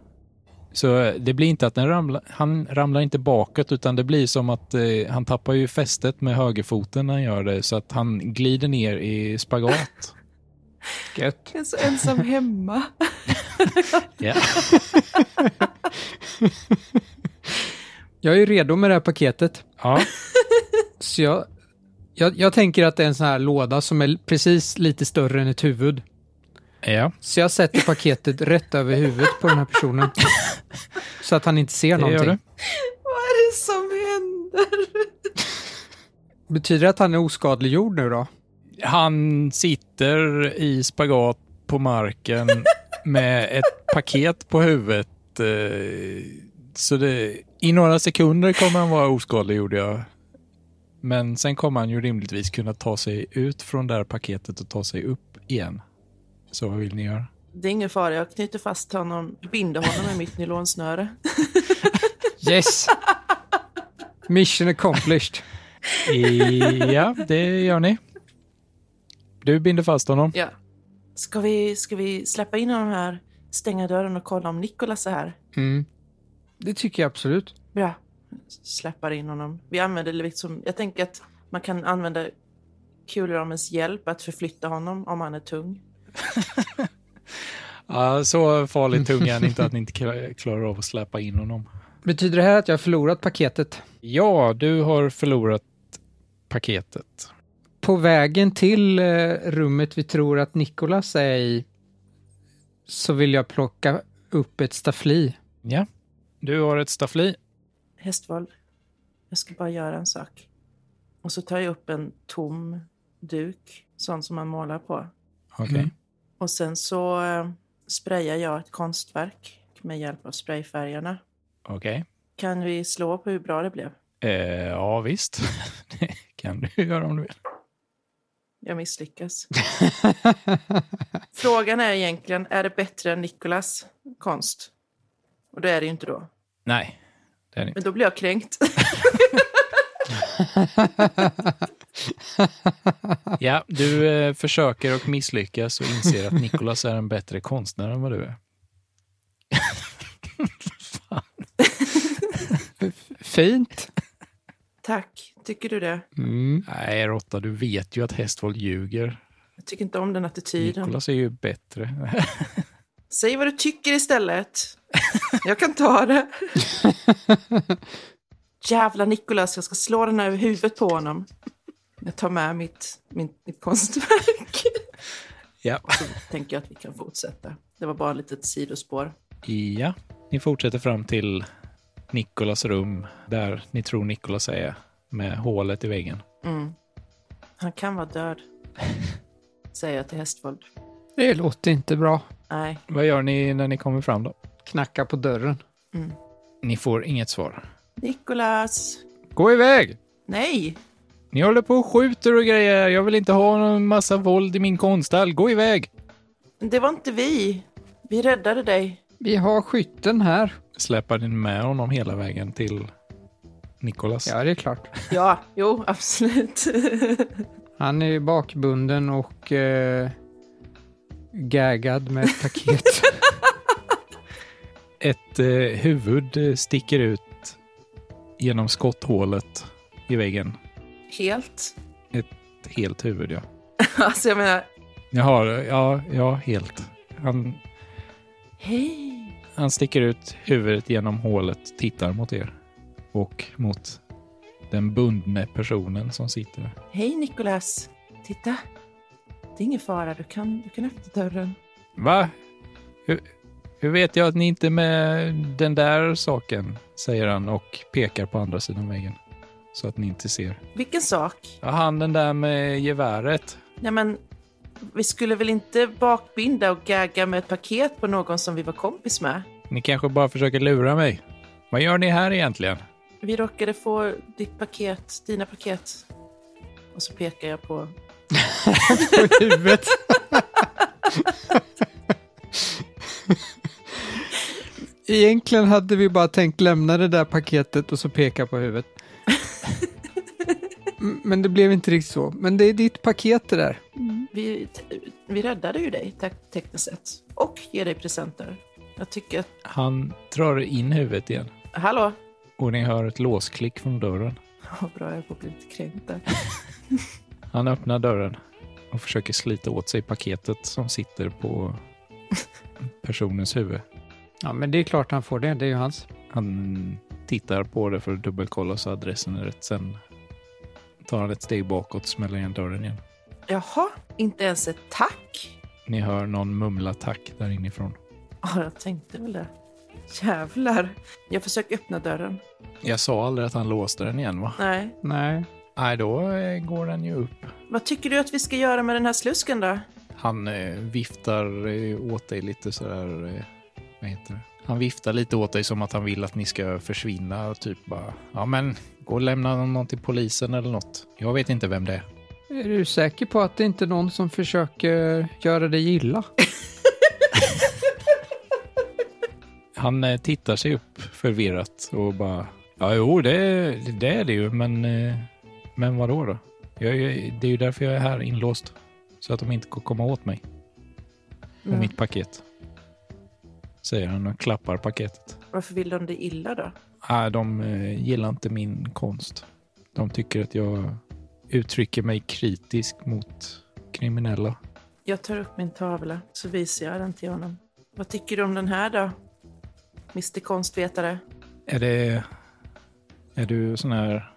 S1: Så eh, det blir inte att den ramlar, han ramlar inte bakåt utan det blir som att eh, han tappar ju fästet med högerfoten när han gör det så att han glider ner i spagat.
S3: Gött.
S2: Jag är så ensam hemma.
S1: Ja.
S3: Jag är ju redo med det här paketet.
S1: Ja,
S3: Så jag, jag, jag tänker att det är en sån här låda som är precis lite större än ett huvud.
S1: ja,
S3: Så jag sätter paketet rätt över huvudet på den här personen. Så att han inte ser
S1: det gör
S3: någonting.
S1: du.
S2: Vad är det som händer?
S3: Betyder det att han är oskadliggjord nu då?
S1: Han sitter i spagat på marken med ett paket på huvudet. eh, Så det, i några sekunder kommer han vara oskadlig, gjorde jag. Men sen kommer han ju rimligtvis kunna ta sig ut från det här paketet och ta sig upp igen. Så vad vill ni göra?
S2: Det är ingen fara, jag knyter fast honom, binder honom med mitt nylonsnöre.
S3: Yes! Mission accomplished.
S1: Ja, det gör ni. Du binder fast honom.
S2: Ja. Ska vi, ska vi släppa in honom här, stänga dörren och kolla om Nikolas är här?
S3: Mm. Det tycker jag absolut.
S2: Bra. Släpar in honom. Vi använder det liksom, jag tänker att man kan använda kulramens hjälp att förflytta honom om han är tung.
S1: Ja, så farligt tung är han inte att ni inte kla- klarar av att släpa in honom.
S3: Betyder det här att jag har förlorat paketet?
S1: Ja, du har förlorat paketet.
S3: På vägen till eh, rummet vi tror att Nikolas är i så vill jag plocka upp ett staffli.
S1: Ja. Du har ett staffli.
S2: Hästvold, jag ska bara göra en sak. Och så tar jag upp en tom duk, sån som man målar på.
S1: Okej.
S3: Mm.
S2: Och sen så eh, sprayar jag ett konstverk med hjälp av sprayfärgerna.
S1: Okej.
S2: Kan vi slå på hur bra det blev?
S1: Eh, ja, visst. det kan du göra om du vill.
S2: Jag misslyckas. Frågan är egentligen, är det bättre än Nikolas konst? Och det är det ju inte då.
S1: Nej, det är det inte.
S2: Men då blir jag kränkt.
S1: Ja, du eh, försöker och misslyckas och inser att Nikolas är en bättre konstnär än vad du är.
S3: Fint.
S2: Tack. Tycker du det?
S3: Mm.
S1: Nej, Rotta, du vet ju att Hästvold ljuger.
S2: Jag tycker inte om den attityden.
S1: Nikolas är ju bättre.
S2: Säg vad du tycker istället. Jag kan ta det. Jävla Nikolas, jag ska slå den över huvudet på honom. Jag tar med mitt, mitt, mitt konstverk.
S1: ja.
S2: Tänker jag att vi kan fortsätta. Det var bara ett litet sidospår.
S1: ja, ni fortsätter fram till Nikolas rum där ni tror Nikolas är med hålet i väggen.
S2: Mm. Han kan vara död. Säger jag till Hästvold.
S3: Det låter inte bra.
S2: Nej,
S1: Vad gör ni när ni kommer fram då?
S3: Knacka på dörren.
S1: Ni får inget svar.
S2: Nikolas.
S1: Gå iväg!
S2: Nej,
S1: Ni håller på och skjuter och grejer. Jag vill inte ha någon massa våld i min konsthall. Gå iväg!
S2: det var inte vi. Vi räddade dig.
S3: Vi har skytten här.
S1: Släpar ni med honom hela vägen till Nikolas?
S3: Ja, det är klart.
S2: Ja, jo, absolut.
S3: Han är ju bakbunden och eh, gaggad med ett paket.
S1: Ett eh, huvud eh, sticker ut genom skotthålet i väggen.
S2: Helt.
S1: Ett helt huvud, ja.
S2: Alltså, jag menar,
S1: Jaha, ja, ja, helt. Han,
S2: hej.
S1: han sticker ut huvudet genom hålet, tittar mot er och mot den bundne personen som sitter där.
S2: Hej Nikolas! Titta! Det är ingen fara, du kan, du kan öppna dörren.
S1: Va? Hur, hur vet jag att ni inte är med den där saken? Säger han och pekar på andra sidan väggen. Så att ni inte ser.
S2: Vilken sak!
S1: Ja, han den där med geväret.
S2: Nej men, vi skulle väl inte bakbinda och gagga med ett paket på någon som vi var kompis med?
S1: Ni kanske bara försöker lura mig. Vad gör ni här egentligen?
S2: Vi råkade få ditt paket, dina paket. Och så pekar jag på...
S3: på huvudet. Egentligen hade vi bara tänkt lämna det där paketet och så peka på huvudet. M- Men det blev inte riktigt så. Men det är ditt paket det där.
S2: Vi, t- vi räddade ju dig te- tekniskt sett och ger dig presenter. Jag tycker att,
S1: Han drar in huvudet igen
S2: hallå?
S1: och ni hör ett låsklick från dörren.
S2: Ja, bra, jag får bli lite kränkt där.
S1: Han öppnar dörren och försöker slita åt sig paketet som sitter på personens huvud.
S3: Ja, men det är klart han får det. Det är ju hans.
S1: Han tittar på det för att dubbelkolla så adressen är rätt. Sen tar han ett steg bakåt och smäller igen dörren igen.
S2: Jaha, inte ens ett tack?
S1: Ni hör någon mumla tack där inifrån.
S2: Ja, jag tänkte väl det. Jävlar. Jag försöker öppna dörren.
S1: Jag sa aldrig att han låste den igen va?
S2: Nej.
S3: Nej.
S1: Nej, då eh, går den ju upp.
S2: Vad tycker du att vi ska göra med den här slusken då?
S1: Han eh, viftar eh, åt dig lite sådär, eh, vad heter det? Han viftar lite åt dig som att han vill att ni ska försvinna. Typ bara, ja men gå och lämna någon till polisen eller något. Jag vet inte vem det är.
S3: Är du säker på att det inte är någon som försöker göra dig illa?
S1: Han eh, tittar sig upp förvirrat och bara, ja jo det, det är det ju men, eh, men vadå då? Jag, är ju- det är ju därför jag är här inlåst. Så att de inte kan komma åt mig och
S2: Mm.
S1: mitt paket. Säger han och klappar paketet.
S2: Varför vill de dig illa då?
S1: Nej, de eh, gillar inte min konst. De tycker att jag uttrycker mig kritisk mot kriminella.
S2: Jag tar upp min tavla så visar jag den till honom. Vad tycker du om den här då? Mr Konstvetare.
S1: Är det... Är du sån här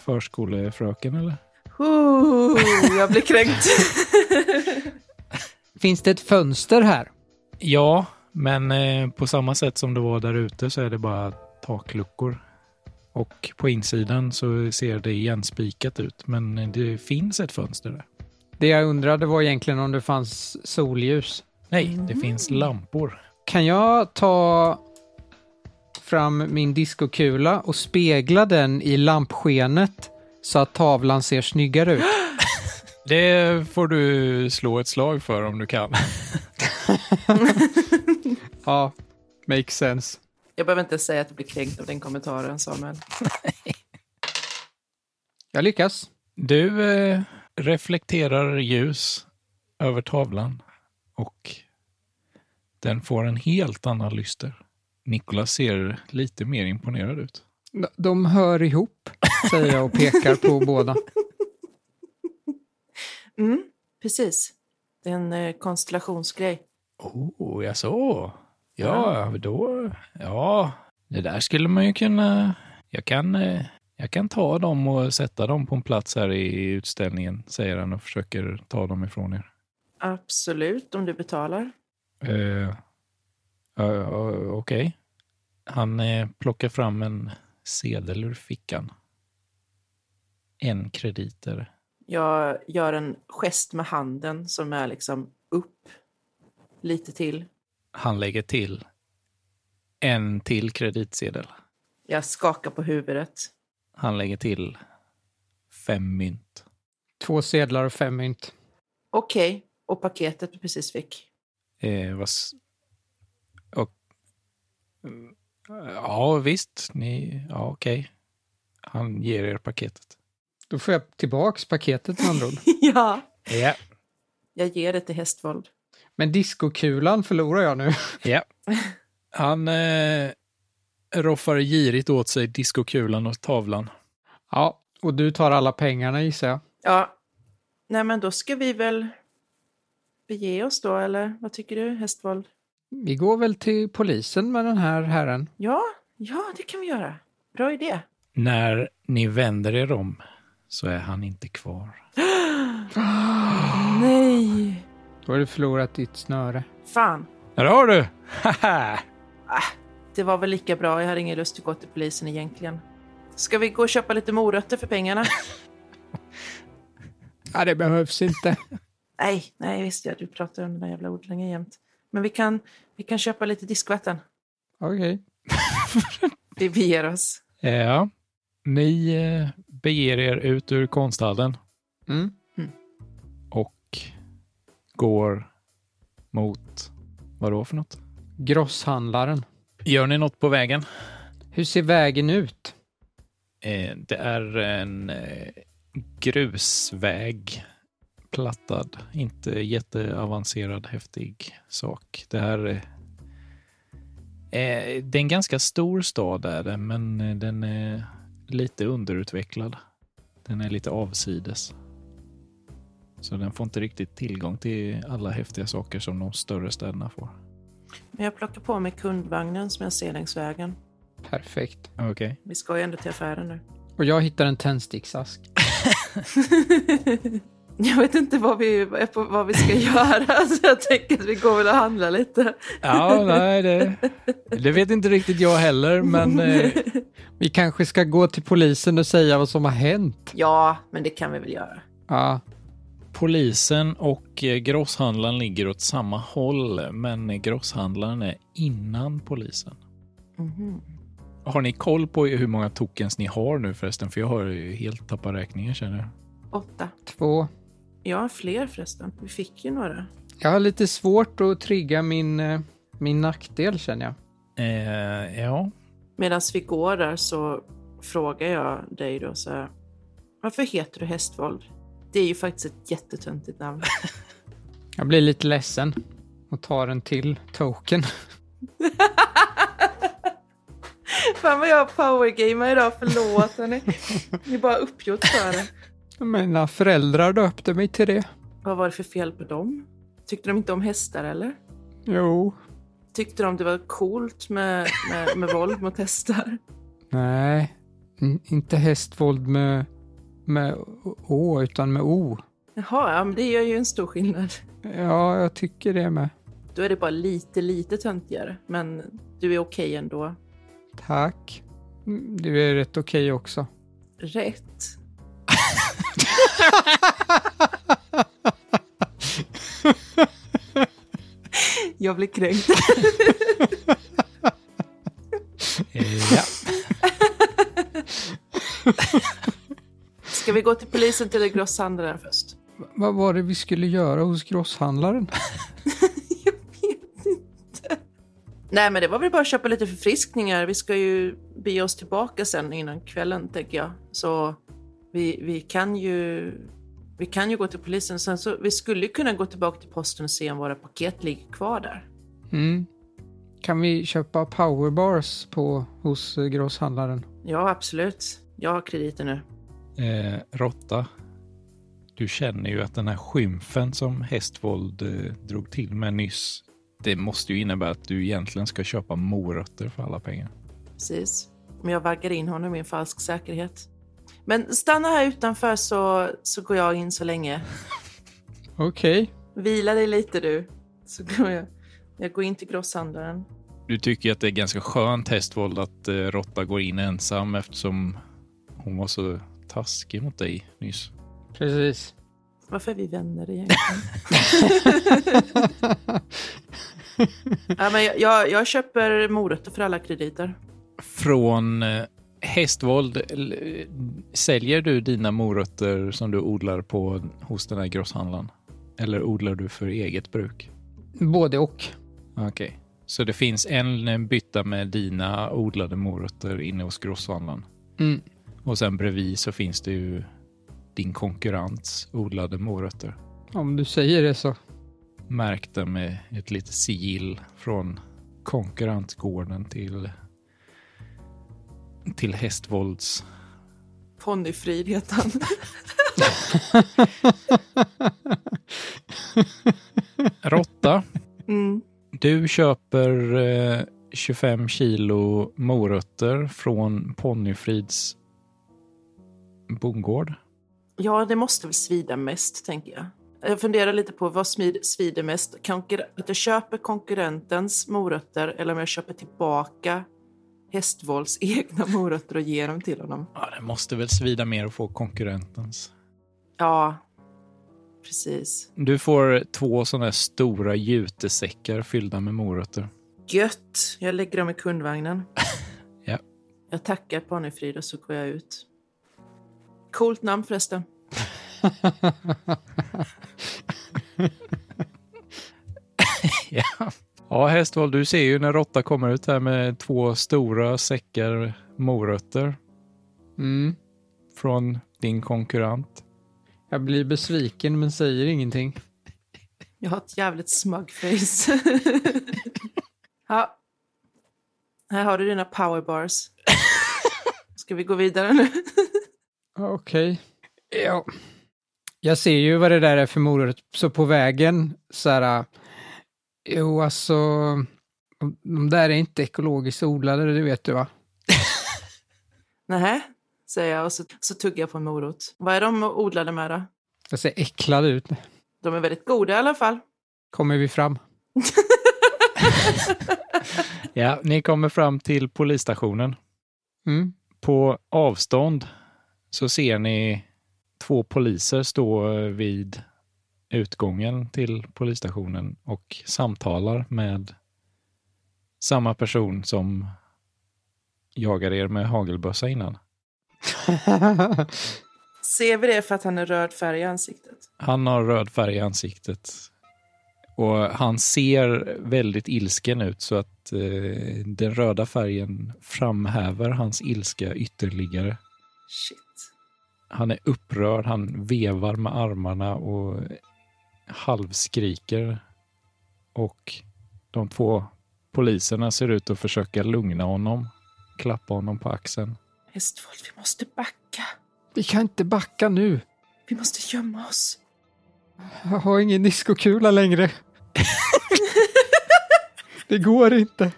S1: förskolefröken eller?
S2: Ooh, jag blir kränkt.
S3: Finns det ett fönster här?
S1: Ja, men eh, på samma sätt som det var där ute så är det bara takluckor. Och på insidan så ser det igenspikat ut, men det finns ett fönster där.
S3: Det jag undrade var egentligen om det fanns solljus.
S1: Nej, det finns lampor.
S3: Kan jag ta fram min diskokula och spegla den i lampskenet så att tavlan ser snyggare ut?
S1: Det får du slå ett slag för om du kan.
S3: Ja, makes sense.
S2: Jag behöver inte säga att jag blir kränkt av den kommentaren, Samuel.
S3: Jag lyckas.
S1: Du eh, reflekterar ljus över tavlan och den får en helt annan lyster. Nikolas ser lite mer imponerad ut.
S3: De hör ihop, säger jag och pekar på båda.
S2: Mm, precis. Det är en eh, konstellationsgrej.
S1: Oh, jag så. Ja, då. Ja, det där skulle man ju kunna. Jag kan, eh, jag kan ta dem och sätta dem på en plats här i utställningen, säger han och försöker ta dem ifrån er.
S2: Absolut, om du betalar.
S1: Eh, eh, Okej. Han eh, plockar fram en sedel ur fickan. En krediter.
S2: Jag gör en gest med handen som är liksom upp lite till.
S1: Han lägger till en till kreditsedel.
S2: Jag skakar på huvudet.
S1: Han lägger till fem mynt.
S3: Två sedlar och fem mynt.
S2: Okej, och paketet du precis fick.
S1: Eh, vad s- och, Mm, ja, visst. Ni, ja, okej. Han ger er paketet.
S3: Då får jag tillbaks paketet med andra ord.
S2: ja.
S1: Ja.
S2: Jag ger det till hästvåld.
S3: Men diskokulan förlorar jag nu.
S1: Ja. Han eh, roffar girigt åt sig diskokulan och tavlan.
S3: Ja, och du tar alla pengarna gissar jag.
S2: Ja. Nej, men då ska vi väl bege oss då, eller vad tycker du, hästvåld?
S3: Vi går väl till polisen med den här herren.
S2: Ja, ja, det kan vi göra. Bra idé.
S1: När ni vänder er om så är han inte kvar.
S2: Nej!
S3: Då har du förlorat ditt snöre.
S2: Fan,
S1: Där har du! Haha!
S2: det var väl lika bra. Jag hade ingen lust att gå till polisen egentligen. Ska vi gå och köpa lite morötter för pengarna?
S3: Ja, det behövs inte.
S2: nej, nej, visst ja, du pratar om den där jävla odlingen jämt. Men vi kan, vi kan köpa lite diskvatten.
S3: Okej.
S2: Vi beger oss.
S1: ja. Ni eh, beger er ut ur konsthallen
S3: Mm.
S1: och går mot... Vadå för något?
S3: Grosshandlaren.
S1: Gör ni något på vägen?
S3: Hur ser vägen ut?
S1: Eh, det är en eh, grusväg. Plattad. Inte jätteavancerad, häftig sak. Det här... eh, Eh, det är en ganska stor stad är det, men eh, den är lite underutvecklad. Den är lite avsides. Så den får inte riktigt tillgång till alla häftiga saker som de större städerna får.
S2: Men jag plockar på mig kundvagnen som jag ser längs vägen.
S3: Perfekt.
S1: Okej.
S2: Vi ska ju ändå till affären nu.
S3: Och jag hittar en tändsticksask.
S2: jag vet inte vad vi, vad vi ska göra, så jag tänker att vi går väl och handlar lite.
S1: Ja, nej, det, det vet inte riktigt jag heller, men eh,
S3: Vi kanske ska gå till polisen och säga vad som har hänt.
S2: Ja, men det kan vi väl göra.
S3: Ja,
S1: polisen och eh, grosshandlaren ligger åt samma håll, men grosshandlaren är innan polisen.
S2: Mhm.
S1: Har ni koll på hur många tokens ni har nu förresten? För jag har ju helt tappat räkningen känner jag.
S2: Åtta.
S3: två.
S2: Jag har fler förresten. Vi fick ju några.
S3: Jag har lite svårt att trigga min, eh, min nackdel känner jag.
S1: Eh, ja,
S2: Medan vi går där så frågar jag dig då så här. Varför heter du Hästvold? Det är ju faktiskt ett jättetöntigt namn.
S3: Jag blir lite ledsen och tar en till token.
S2: Fan vad jag powergamear idag, förlåt hörni. Ni är bara uppgjort för det.
S3: Mina föräldrar döpte mig till det.
S2: Vad var det för fel på dem? Tyckte de inte om hästar eller?
S3: Jo.
S2: Tyckte de det var coolt med, med, med våld mot hästar?
S3: Nej, in- inte hästvåld med, med Å utan med O.
S2: Jaha, ja, men det gör ju en stor skillnad.
S3: Ja, jag tycker det med.
S2: Då är det bara lite, lite töntigare. Men du är okej ändå.
S3: Tack. Mm, Du är rätt okej också.
S2: Rätt. Jag blir kränkt.
S1: eh, ja.
S2: Ska vi gå till polisen till grosshandlaren först?
S3: V- Vad var det vi skulle göra hos grosshandlaren?
S2: Jag vet inte. Nej, men det var väl bara att köpa lite förfriskningar. Vi ska ju bege oss tillbaka sen innan kvällen, tänker jag. Så vi, vi kan ju... Vi kan ju gå till polisen. Sen så, vi skulle ju kunna gå tillbaka till posten och se om våra paket ligger kvar där.
S3: Mm. Kan vi köpa powerbars på, hos eh, grosshandlaren?
S2: Ja, absolut. Jag har krediter nu.
S1: eh, Råtta, du känner ju att den här skymfen som Hästvold eh, drog till med nyss, det måste ju innebära att du egentligen ska köpa morötter för alla pengar.
S2: Precis. Men jag vaggar in honom i en falsk säkerhet. Men stanna här utanför så, så går jag in så länge.
S3: Okej.
S2: Vila dig lite du. Så går jag. Jag går in till grosshandlaren.
S1: Du tycker ju att det är ganska skönt Hästvold att eh, Råtta går in ensam eftersom hon var så taskig mot dig nyss.
S3: Precis.
S2: Varför är vi vänner egentligen? ja, men jag, jag, jag köper morötter för alla krediter.
S1: från eh, hästvold. l- eh, Säljer du dina morötter som du odlar på hos den här grosshandlaren? Eller odlar du för eget bruk?
S3: Både och.
S1: Okej. Så det finns en eh, bytta med dina odlade morötter inne hos grosshandlaren.
S3: Mm.
S1: Och sen bredvid så finns det ju din konkurrents odlade morötter.
S3: Om du säger det så.
S1: Märkta med ett litet sigill från konkurrentgården till, till hästvolds
S2: Ponnyfrid heter han.
S1: Råtta,
S2: Mm.
S1: du köper eh, 25 kilo morötter från Ponnyfrids bondgård.
S2: Ja, det måste väl svida mest, tänker jag. Jag funderar lite på vad smid, svider mest. Konkur- att jag köper konkurrentens morötter eller om jag köper tillbaka Hästvolds egna morötter och ger dem till honom.
S1: Ja, det måste väl svida mer att få konkurrentens.
S2: Ja, precis.
S1: Du får två sådana här stora jutesäckar fyllda med morötter.
S2: Gött! Jag lägger dem i kundvagnen.
S1: Ja.
S2: Jag tackar Ponnefrid och så går jag ut. Coolt namn förresten.
S1: ja. Ja, Hästvold, du ser ju när Råtta kommer ut här med två stora säckar morötter
S3: Mm.
S1: från din konkurrent.
S3: Jag blir besviken men säger ingenting.
S2: Jag har ett jävligt smugface. ja. Här har du dina powerbars. Ska vi gå vidare nu?
S3: Okej. Ja. Jag ser ju vad det där är för morot, så på vägen så här... eh, Jo, alltså... de- De där är inte ekologiskt odlade, det vet du va?
S2: Nähä, säger jag och så, så tuggar jag på en morot. Vad är de odlade med då?
S3: Jag ser äcklad ut.
S2: De är väldigt goda i alla fall.
S3: Kommer vi fram?
S1: Ja, ni kommer fram till polisstationen.
S3: Mm.
S1: På avstånd så ser ni två poliser stå vid utgången till polisstationen och samtalar med samma person som jagade er med hagelbössa innan.
S2: Ser vi det för att han är röd färg i ansiktet?
S1: Han har röd färg i ansiktet. Och han ser väldigt ilsken ut så att eh, den röda färgen framhäver hans ilska ytterligare.
S2: Shit.
S1: Han är upprörd, han vevar med armarna och halvskriker. Och de två poliserna ser ut att försöka lugna honom, klappa honom på axeln.
S2: Hästvold, vi måste backa.
S3: vi kan inte backa nu.
S2: Vi måste gömma oss.
S3: Jag har ingen diskokula längre. det går inte.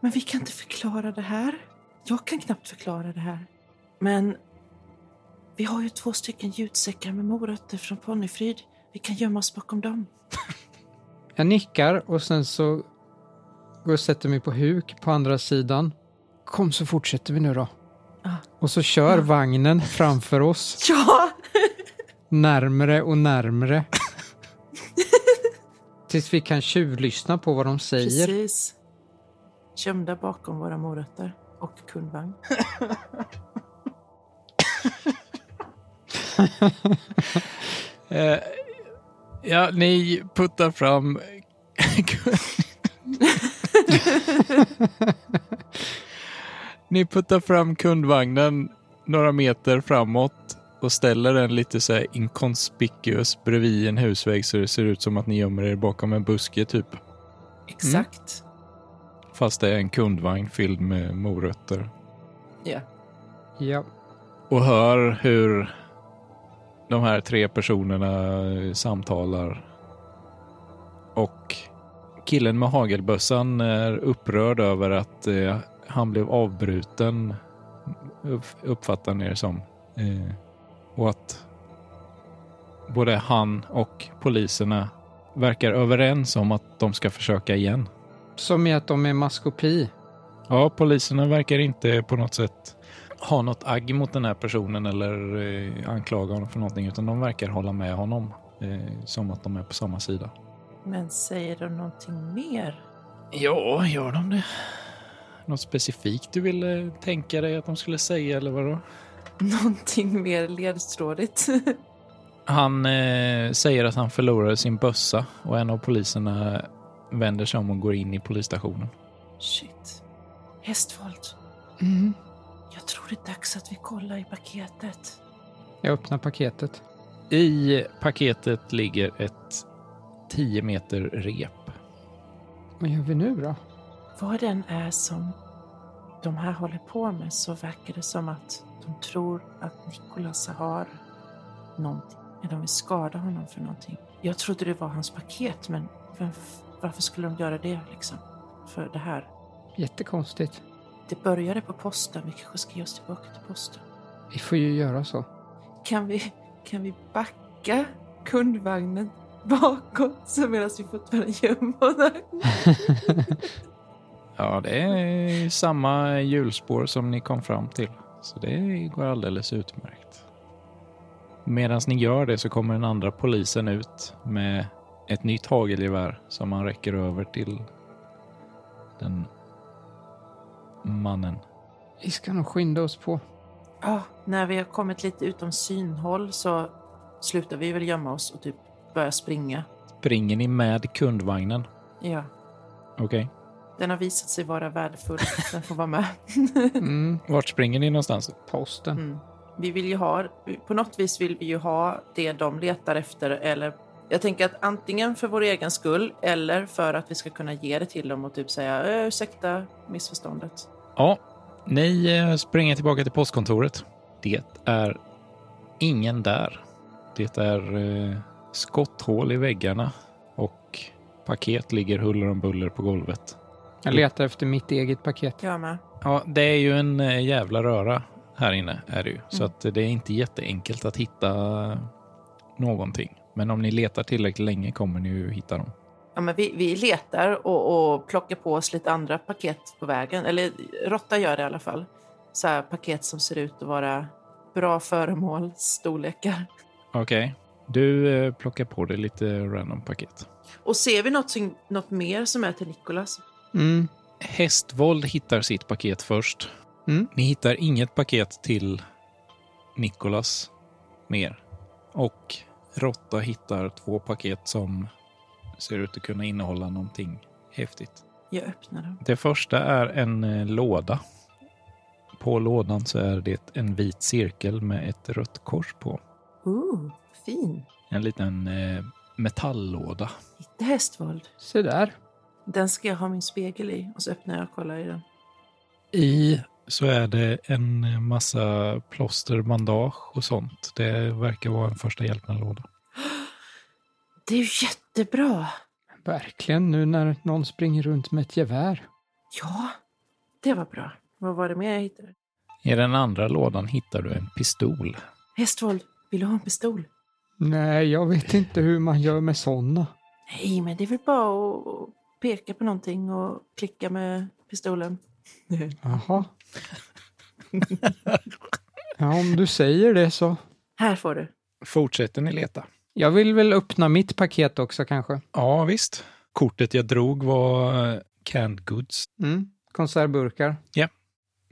S2: Men vi kan inte förklara det här. Jag kan knappt förklara det här. Men vi har ju två stycken gjutsäckar med morötter från Ponnyfrid. Vi kan gömma oss bakom dem.
S3: Jag nickar och sen så går jag och sätter mig på huk på andra sidan. Kom så fortsätter vi nu då.
S2: Ja.
S3: Och så kör vagnen framför oss
S2: Ja!
S3: närmre och närmre. Tills vi kan tjuvlyssna på vad de säger.
S2: Precis. Gömda bakom våra morötter och kundvagn.
S1: Eh, ja, ni puttar fram... ni puttar fram kundvagnen några meter framåt och ställer den lite så här inkonspicuous bredvid en husvägg så det ser ut som att ni gömmer er bakom en buske typ.
S2: Exakt.
S1: Fast det är en kundvagn fylld med morötter.
S2: Ja.
S3: Ja.
S1: och hör hur de här tre personerna eh, samtalar. Och killen med hagelbössan är upprörd över att eh, han blev avbruten, upp- uppfattar ni det som. Eh, och att både han och poliserna verkar överens om att de ska försöka igen.
S3: Som i att de är maskopi.
S1: Ja, poliserna verkar inte på något sätt ha något agg mot den här personen eller eh, anklaga honom för någonting, utan de verkar hålla med honom. Eh, som att de är på samma sida.
S2: Men säger de någonting mer?
S1: Ja, gör de det? Något specifikt du ville tänka dig att de skulle säga eller vadå?
S2: Någonting mer ledtrådigt?
S1: Han eh, säger att han förlorade sin bössa och en av poliserna vänder sig om och går in i polisstationen.
S2: Shit. Hästvold,
S3: Mm.
S2: jag tror det är dags att vi kollar i paketet.
S3: Jag öppnar paketet.
S1: I paketet ligger ett 10 meter rep.
S3: Vad gör vi nu då?
S2: Vad den är som de här håller på med så verkar det som att de tror att Nikolas har någonting. Eller de vill skada honom för någonting. Jag trodde det var hans paket, men vem, f- varför skulle de göra det liksom? För det här.
S3: Jättekonstigt.
S2: Det började på posten. Vi kanske ska ge oss tillbaka till posten.
S3: Vi får ju göra så.
S2: Kan vi, kan vi backa kundvagnen bakåt så medan vi fortfarande gömmer den?
S1: Ja, det är samma hjulspår som ni kom fram till. Så det går alldeles utmärkt. Medan ni gör det så kommer den andra polisen ut med ett nytt hagelgevär som han räcker över till den mannen.
S3: Vi ska nog skynda oss på.
S2: Ja, när vi har kommit lite utom synhåll så slutar vi väl gömma oss och typ börja springa.
S1: Springer ni med kundvagnen?
S2: Ja.
S1: Okej.
S2: Den har visat sig vara värdefull. Den får vara med.
S3: Mm,
S1: Vart springer ni någonstans?
S3: posten.
S2: Mm. Vi vill ju ha, på något vis vill vi ju ha det de letar efter. Eller, jag tänker att antingen för vår egen skull eller för att vi ska kunna ge det till dem och typ säga "Ö, ursäkta missförståndet.
S1: Ja, ni eh, springer tillbaka till postkontoret. Det är ingen där. Det är eh, skotthål i väggarna och paket ligger huller om buller på golvet.
S3: Jag letar efter mitt eget paket.
S2: Jag med.
S1: Ja, det är ju en eh, jävla röra här inne är det ju. Så att eh, det är inte jätteenkelt att hitta någonting. Men om ni letar tillräckligt länge kommer ni ju hitta dem.
S2: Ja, men vi, vi letar och, och plockar på oss lite andra paket på vägen. Eller Råtta gör det i alla fall. Så här, paket som ser ut att vara bra föremål, storlekar.
S1: Okej. Du eh, plockar på dig lite random paket.
S2: Och ser vi något, som- något mer som är till Nikolas?
S3: Mm.
S1: Hästvåld hittar sitt paket först.
S3: Mm.
S1: Ni hittar inget paket till Nikolas mer. Och Råtta hittar två paket som ser ut att kunna innehålla någonting häftigt.
S2: Jag öppnar den.
S1: Det första är en eh, låda. På lådan så är det en vit cirkel med ett rött kors på.
S2: Ooh, fin.
S1: En liten eh, metalllåda.
S2: Inte hästvåld.
S3: Se där.
S2: Den ska jag ha min spegel i. Och så öppnar jag och kollar i den.
S1: I så är det en massa plåster, bandage och sånt. Det verkar vara en första hjälpen-låda.
S2: Det är ju jättebra!
S3: Verkligen, nu när någon springer runt med ett gevär.
S2: Ja, det var bra. Vad var det mer jag hittade?
S1: I den andra lådan hittar du en pistol.
S2: Hästvåld, vill du ha en pistol?
S3: Nej, jag vet inte hur man gör med sådana.
S2: Nej, men det är väl bara att- att peka på någonting och klicka med pistolen.
S3: Jaha. Ja, om du säger det så.
S2: Här får du.
S1: Fortsätter ni leta?
S3: Jag vill väl öppna mitt paket också kanske.
S1: Ja, visst. Kortet jag drog var eh, canned goods.
S3: Mm. Konservburkar.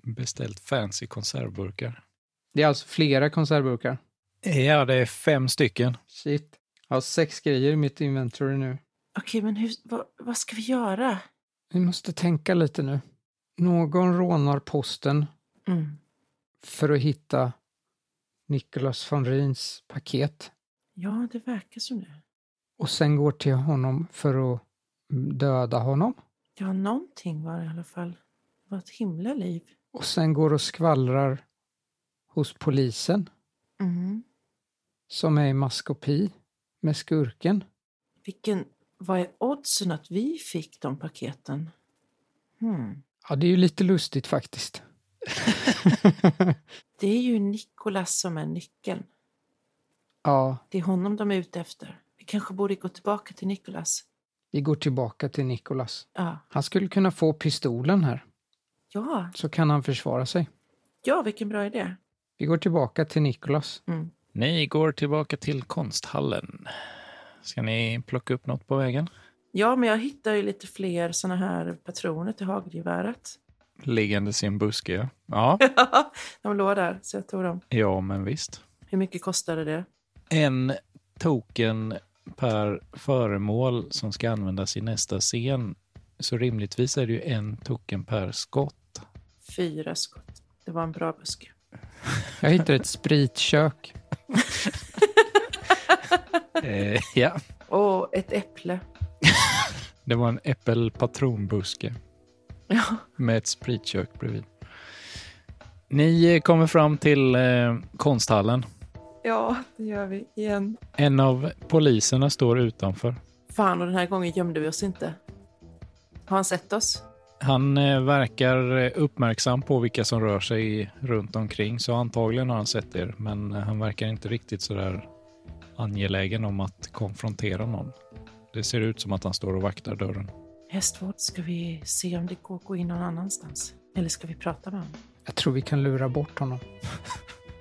S1: Beställt fancy konservburkar.
S3: Det är alltså flera konservburkar.
S1: Ja, det är fem stycken.
S3: Shit. Jag har sex grejer i mitt inventory nu.
S2: Okej, men hur, vad, vad ska vi göra?
S3: Vi måste tänka lite nu. Någon rånar posten
S2: Mm.
S3: för att hitta Nicholas von Rins paket
S2: Ja, det verkar som det.
S3: och sen går till honom för att döda honom.
S2: Ja, någonting var det i alla fall. Det var ett himla liv.
S3: och sen går och skvallrar hos polisen
S2: Mm.
S3: som är i maskopi med skurken.
S2: Vilken, vad är oddsen att vi fick de paketen? Hmm.
S3: Ja, det är ju lite lustigt faktiskt.
S2: Det är ju Nikolas som är nyckeln.
S3: ja,
S2: Det är honom de är ute efter. Vi kanske borde gå tillbaka till Nikolas.
S3: vi går tillbaka till Nikolas.
S2: Ja.
S3: Han skulle kunna få pistolen här,
S2: Ja,
S3: så kan han försvara sig.
S2: ja vilken bra idé.
S3: Vi går tillbaka till Nikolas.
S2: Mm.
S1: Ni går tillbaka till konsthallen. Ska ni plocka upp något på vägen?
S2: Ja, men jag hittar ju lite fler såna här patroner till hagelgeväret.
S1: Liggandes i en buske, ja. Ja,
S2: de låg där, så jag tog dem.
S1: ja men visst.
S2: Hur mycket kostade det?
S1: En token per föremål som ska användas i nästa scen. Så rimligtvis är det ju en token per skott.
S2: Fyra skott. Det var en bra buske.
S3: Jag hittar ett spritkök.
S1: Eh, ja.
S2: Och ett äpple.
S1: Det var en äppelpatronbuske.
S2: Ja.
S1: med ett spritkök bredvid. Ni eh, kommer fram till eh, konsthallen.
S2: ja, det gör vi igen.
S1: En av poliserna står utanför.
S2: Fan, och den här gången gömde vi oss inte. Har han sett oss?
S1: Han eh, verkar eh, uppmärksam på vilka som rör sig runt omkring, så antagligen har han sett er, men eh, han verkar inte riktigt sådär angelägen om att konfrontera någon. Det ser ut som att han står och vaktar dörren.
S2: Hästvård, ska vi se om det går att gå in någon annanstans? Eller ska vi prata med honom?
S3: Jag tror vi kan lura bort honom.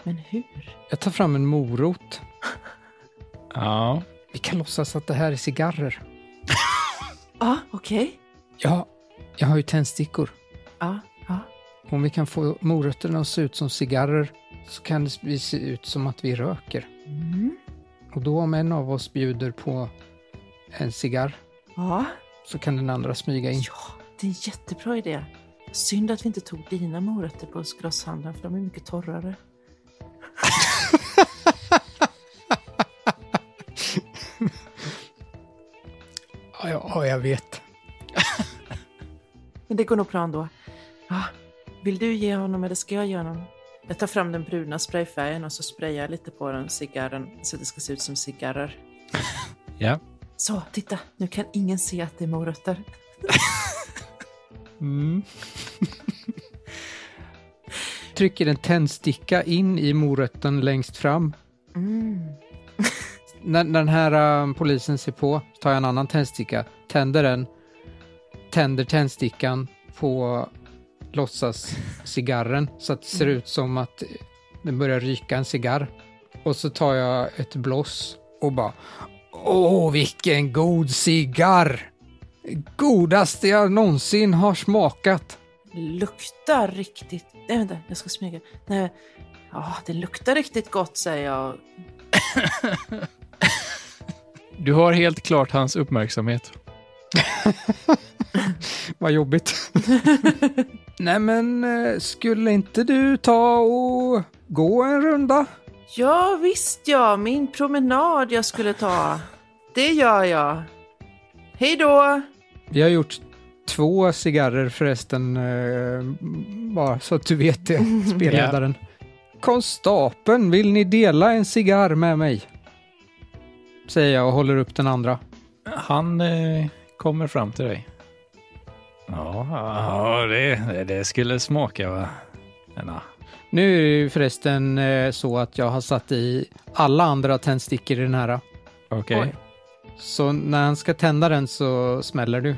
S2: Men hur?
S3: Jag tar fram en morot.
S1: Ja,
S3: Vi kan låtsas att det här är cigarrer.
S2: Ja, ah, okej.
S3: Ja, jag har ju tändstickor.
S2: Ja, ja.
S3: Om vi kan få morötterna att se ut som cigarrer så kan det vi se ut som att vi röker.
S2: Mm.
S3: Och då om en av oss bjuder på en cigarr
S2: Ja,
S3: så kan den andra smyga in.
S2: ja, det är en jättebra idé. Synd att vi inte tog dina morötter på grosshandeln för de är mycket torrare.
S3: Ja, ja, ja, jag vet.
S2: Men det går nog plan då. Ja, vill du ge honom eller ska jag göra honom? Jag tar fram den bruna sprayfärgen och så sprayar jag lite på den cigarren så att det ska se ut som cigarrer.
S1: Ja.
S2: Så, titta! Nu kan ingen se att det är morötter.
S3: Mm. Trycker en tändsticka in i morötten längst fram.
S2: Mm.
S3: När, när den här eh, polisen ser på tar jag en annan tändsticka, tänder den, tänder tändstickan på låtsas cigarren så att det ser ut som att den börjar ryka en cigarr. Och så tar jag ett bloss och bara Åh, vilken god cigarr! Godaste jag någonsin har smakat.
S2: Luktar riktigt... Nej, vänta, jag ska smyga. Nej. Ja, det luktar riktigt gott, säger jag.
S1: Du har helt klart hans uppmärksamhet.
S3: Vad jobbigt. Nej men, eh, skulle inte du ta och gå en runda?
S2: Ja, visst ja, min promenad jag skulle ta. Det gör jag. Hej då!
S3: Vi har gjort två cigarrer förresten, eh, bara så att du vet det, spelledaren. Konstapeln, vill ni dela en cigarr med mig? Säger jag och håller upp den andra.
S1: Han eh, kommer fram till dig. Ja, ja det, det skulle smaka va? Denna.
S3: Nu är det ju förresten eh, så att jag har satt i alla andra tändstickor i den här.
S1: Okej.
S2: Oj.
S3: Så när han ska tända den så smäller du.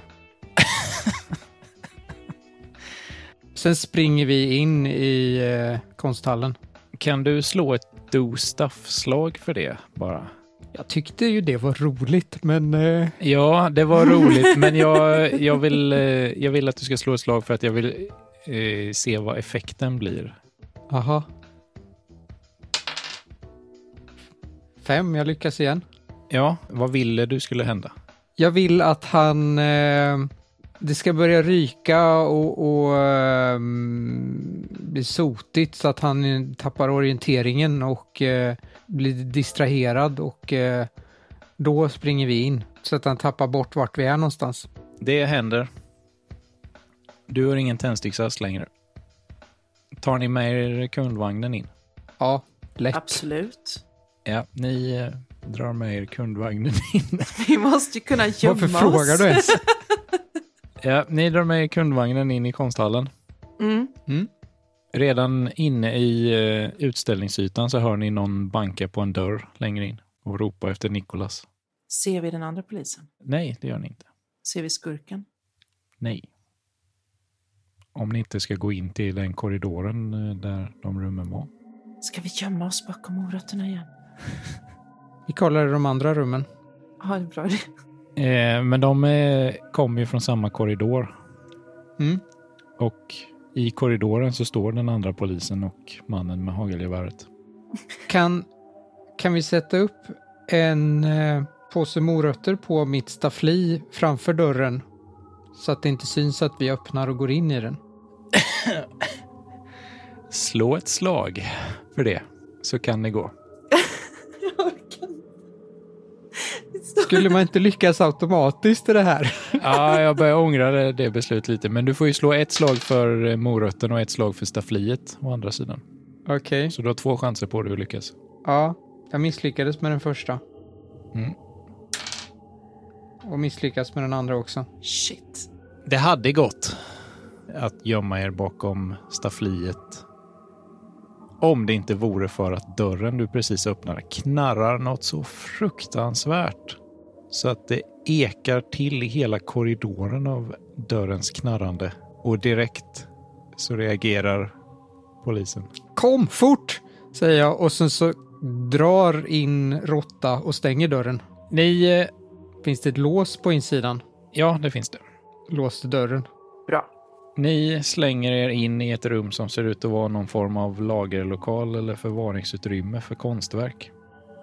S3: Sen springer vi in i eh, konsthallen.
S1: Kan du slå ett do stuff-slag för det bara?
S3: Jag tyckte ju det var roligt, men... Eh,
S1: Ja, det var roligt, men jag, jag, vill, eh, jag vill att du ska slå ett slag för att jag vill eh, se vad effekten blir.
S3: aha. Fem, jag lyckas igen.
S1: Ja, vad ville du skulle hända?
S3: Jag vill att han... Eh, det ska börja ryka och, och eh, bli sotigt så att han tappar orienteringen och eh, blir distraherad och eh, då springer vi in så att han tappar bort vart vi är någonstans.
S1: Det händer. Du har ingen tändsticksask längre. Tar ni med er kundvagnen in?
S3: Ja, lätt.
S2: Absolut.
S1: Ja, ni eh, drar med er kundvagnen in.
S2: Vi måste ju kunna gömma
S3: Varför
S2: oss.
S3: frågar du ens?
S1: ja, ni drar med er kundvagnen in i konsthallen.
S2: Mm.
S1: Redan inne i eh, utställningsytan så hör ni någon banka på en dörr längre in och ropa efter Nikolas.
S2: Ser vi den andra polisen?
S1: Nej, det gör ni inte.
S2: Ser vi skurken?
S1: Nej. Om ni inte ska gå in till den korridoren eh, där de rummen var.
S2: Ska vi gömma oss bakom morötterna igen?
S3: Vi kollar i de andra rummen.
S2: Ja, det är en bra idé.
S1: Eh, men de eh, kommer ju från samma korridor
S3: Mm.
S1: och i korridoren så står den andra polisen och mannen med hagelgeväret.
S3: Kan, kan vi sätta upp en eh, påse morötter på mitt staffli framför dörren så att det inte syns att vi öppnar och går in i den?
S1: Slå ett slag för det, så kan ni gå.
S2: Jag orkar inte. Det står-
S3: Skulle man inte lyckas automatiskt i det här?
S1: Ja, jag börjar ångra det, det beslutet lite, men du får ju slå ett slag för eh, morötten och ett slag för staffliet å andra sidan.
S3: Okej.
S1: Så du har två chanser på dig att lyckas.
S3: Ja, jag misslyckades med den första.
S1: Mm.
S3: Och misslyckas med den andra också.
S2: Shit.
S1: Det hade gått att gömma er bakom staffliet. Om det inte vore för att dörren du precis öppnade knarrar något så fruktansvärt. Så att det ekar till i hela korridoren av dörrens knarrande. Och direkt så reagerar polisen.
S3: Kom fort! Säger jag och sen så drar in Råtta och stänger dörren.
S1: Ni... eh,
S3: Finns det ett lås på insidan?
S1: Ja, det finns det.
S3: Låste dörren.
S2: Bra.
S1: Ni slänger er in i ett rum som ser ut att vara någon form av lagerlokal eller förvaringsutrymme för konstverk.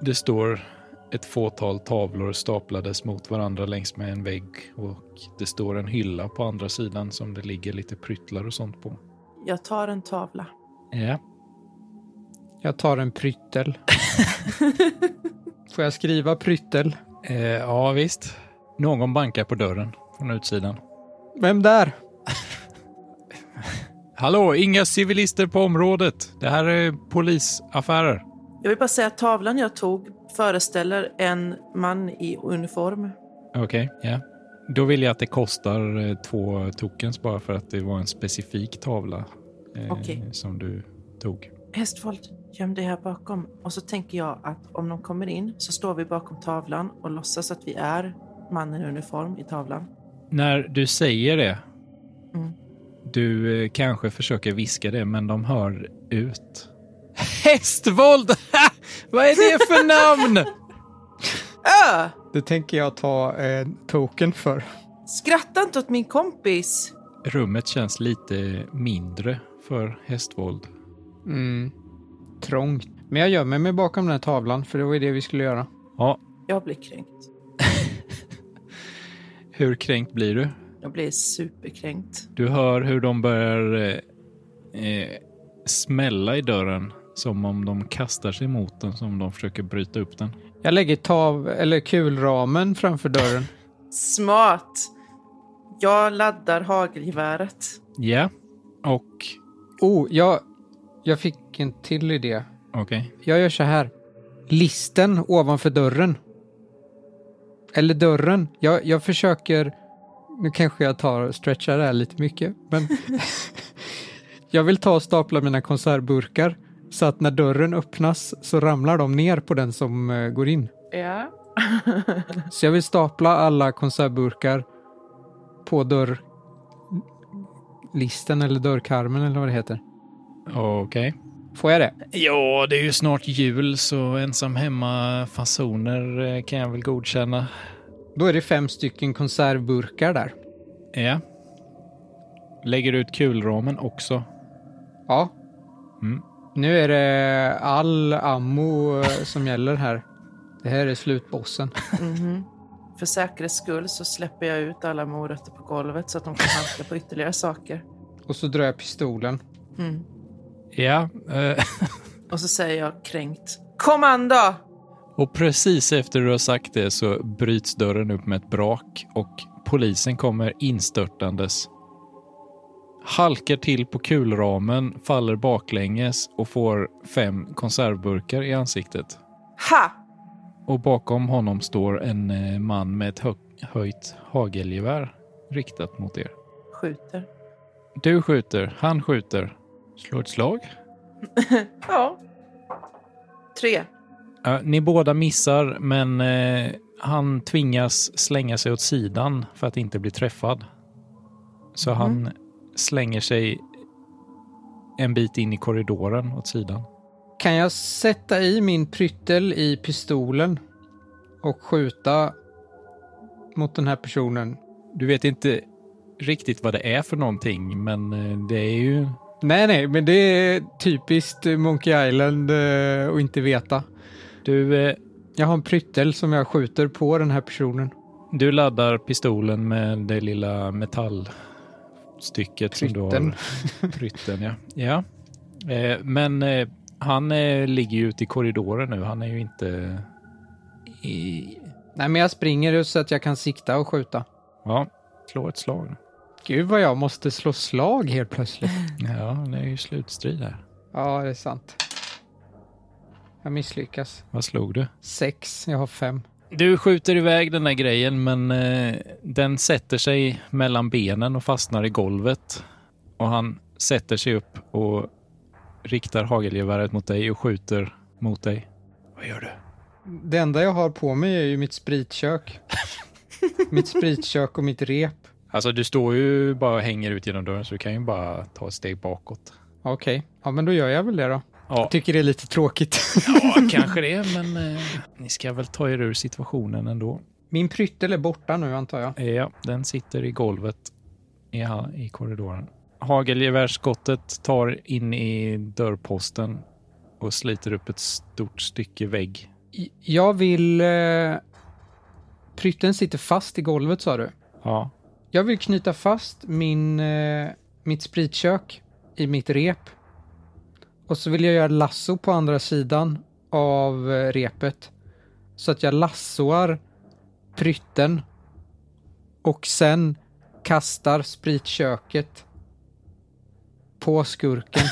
S1: Det står Ett fåtal tavlor staplades mot varandra längs med en vägg och det står en hylla på andra sidan som det ligger lite pryttlar och sånt på.
S2: Jag tar en tavla.
S1: Ja.
S3: Jag tar en pryttel. Får jag skriva pryttel?
S1: Eh, ja, visst. Någon bankar på dörren från utsidan.
S3: Vem där?
S1: Hallå, inga civilister på området. Det här är polisaffärer.
S2: Jag vill bara säga att tavlan jag tog föreställer en man i uniform.
S1: Okej, ja. Då vill jag att det kostar eh, två tokens bara för att det var en specifik tavla eh,
S2: Okej.
S1: som du tog.
S2: Hästvold, göm dig här bakom. Och så tänker jag att om de kommer in så står vi bakom tavlan och låtsas att vi är mannen i uniform i tavlan.
S1: När du säger det,
S2: Mm.
S1: du eh, kanske försöker viska det, men de hör ut. Hästvold! Ha! Vad är det för namn?
S2: Ö!
S3: Det tänker jag ta en token för.
S2: Skratta inte åt min kompis!
S1: Rummet känns lite mindre för hästvold.
S3: Mm. Trångt. Men jag gömmer mig bakom den här tavlan, för det var ju det vi skulle göra.
S1: Ja,
S2: Jag blir kränkt.
S1: hur kränkt blir du?
S2: Jag blir superkränkt.
S1: Du hör hur de börjar eh, eh, smälla i dörren som om de kastar sig mot den, som om de försöker bryta upp den.
S3: Jag lägger tav, eller kulramen framför dörren.
S2: Smart! Jag laddar hagelgeväret.
S1: Ja, och
S3: Oh, jag, jag fick en till idé.
S1: okej.
S3: Jag gör så här. Listen ovanför dörren. Eller dörren. Jag, jag försöker... Nu kanske jag tar och stretchar det här lite mycket, men... jag vill ta och stapla mina konservburkar så att när dörren öppnas så ramlar de ner på den som eh, går in.
S2: Ja.
S3: Så jag vill stapla alla konservburkar på dörrlisten eller dörrkarmen eller vad det heter.
S1: Okej.
S3: Får jag det?
S1: Ja, det är ju snart jul så ensam hemma-fasoner eh, kan jag väl godkänna.
S3: Då är det fem stycken konservburkar där.
S1: Ja. Lägger du ut kulramen också?
S3: Ja.
S1: Mm.
S3: Nu är det all ammo eh, som gäller här. Det här är slutbossen.
S2: Mhm. För säkerhets skull så släpper jag ut alla morötter på golvet så att de kan halka på ytterligare saker.
S3: Och så drar jag pistolen.
S2: Mm.
S1: Ja. eh,
S2: Och så säger jag kränkt. Kommando!
S1: Och precis efter du har sagt det så bryts dörren upp med ett brak och polisen kommer instörtandes. Halkar till på kulramen, faller baklänges och får fem konservburkar i ansiktet.
S2: Ha!
S1: Och bakom honom står en eh, man med ett hö- höjt hagelgevär riktat mot er.
S2: Skjuter.
S1: Du skjuter, han skjuter. Slå ett slag.
S2: Ja. Tre.
S1: Ja, ni båda missar, men eh, han tvingas slänga sig åt sidan för att inte bli träffad. Så
S2: Mhm.
S1: han slänger sig en bit in i korridoren åt sidan.
S3: Kan jag sätta i min pryttel i pistolen och skjuta mot den här personen?
S1: Du vet inte riktigt vad det är för någonting, men eh, det är ju...
S3: Nej, nej, men det är typiskt eh, Monkey Island eh, att inte veta.
S1: Du, eh,
S3: Jag har en pryttel som jag skjuter på den här personen.
S1: du laddar pistolen med det lilla metallstycket som du har.
S3: Prytteln.
S1: Prytten. ja. ja. Eh, men eh, han eh, ligger ju ute i korridoren nu. Han är ju inte... I...
S3: Nej, men jag springer så att jag kan sikta och skjuta.
S1: Ja, slå ett slag.
S3: Gud vad jag måste slå slag helt plötsligt.
S1: Ja, det är ju slutstrid här.
S3: Ja, det är sant. Jag misslyckas.
S1: Vad slog du?
S3: Sex, jag har fem.
S1: Du skjuter iväg den där grejen, men eh, den sätter sig mellan benen och fastnar i golvet. Och han sätter sig upp och riktar hagelgeväret mot dig och skjuter mot dig. Vad gör du?
S3: Det enda jag har på mig är ju mitt spritkök. mitt spritkök och mitt rep.
S1: Alltså, du står ju bara och hänger ut genom dörren, så du kan ju bara ta ett steg bakåt.
S3: Okej, ja men då gör jag väl det då.
S1: Ja,
S3: Jag tycker det är lite tråkigt.
S1: ja kanske det, men eh, ni ska väl ta er ur situationen ändå.
S3: Min pryttel är borta nu antar jag.
S1: Ja, den sitter i golvet i, ha- i korridoren. Hagelgevärsskottet tar in i dörrposten och sliter upp ett stort stycke vägg.
S3: Jag vill... Eh, prytten sitter fast i golvet sa du.
S1: Ja.
S3: Jag vill knyta fast min, eh, mitt spritkök i mitt rep. Och så vill jag göra lasso på andra sidan av eh, repet. Så att jag lassoar prytten och sen kastar spritköket på skurken.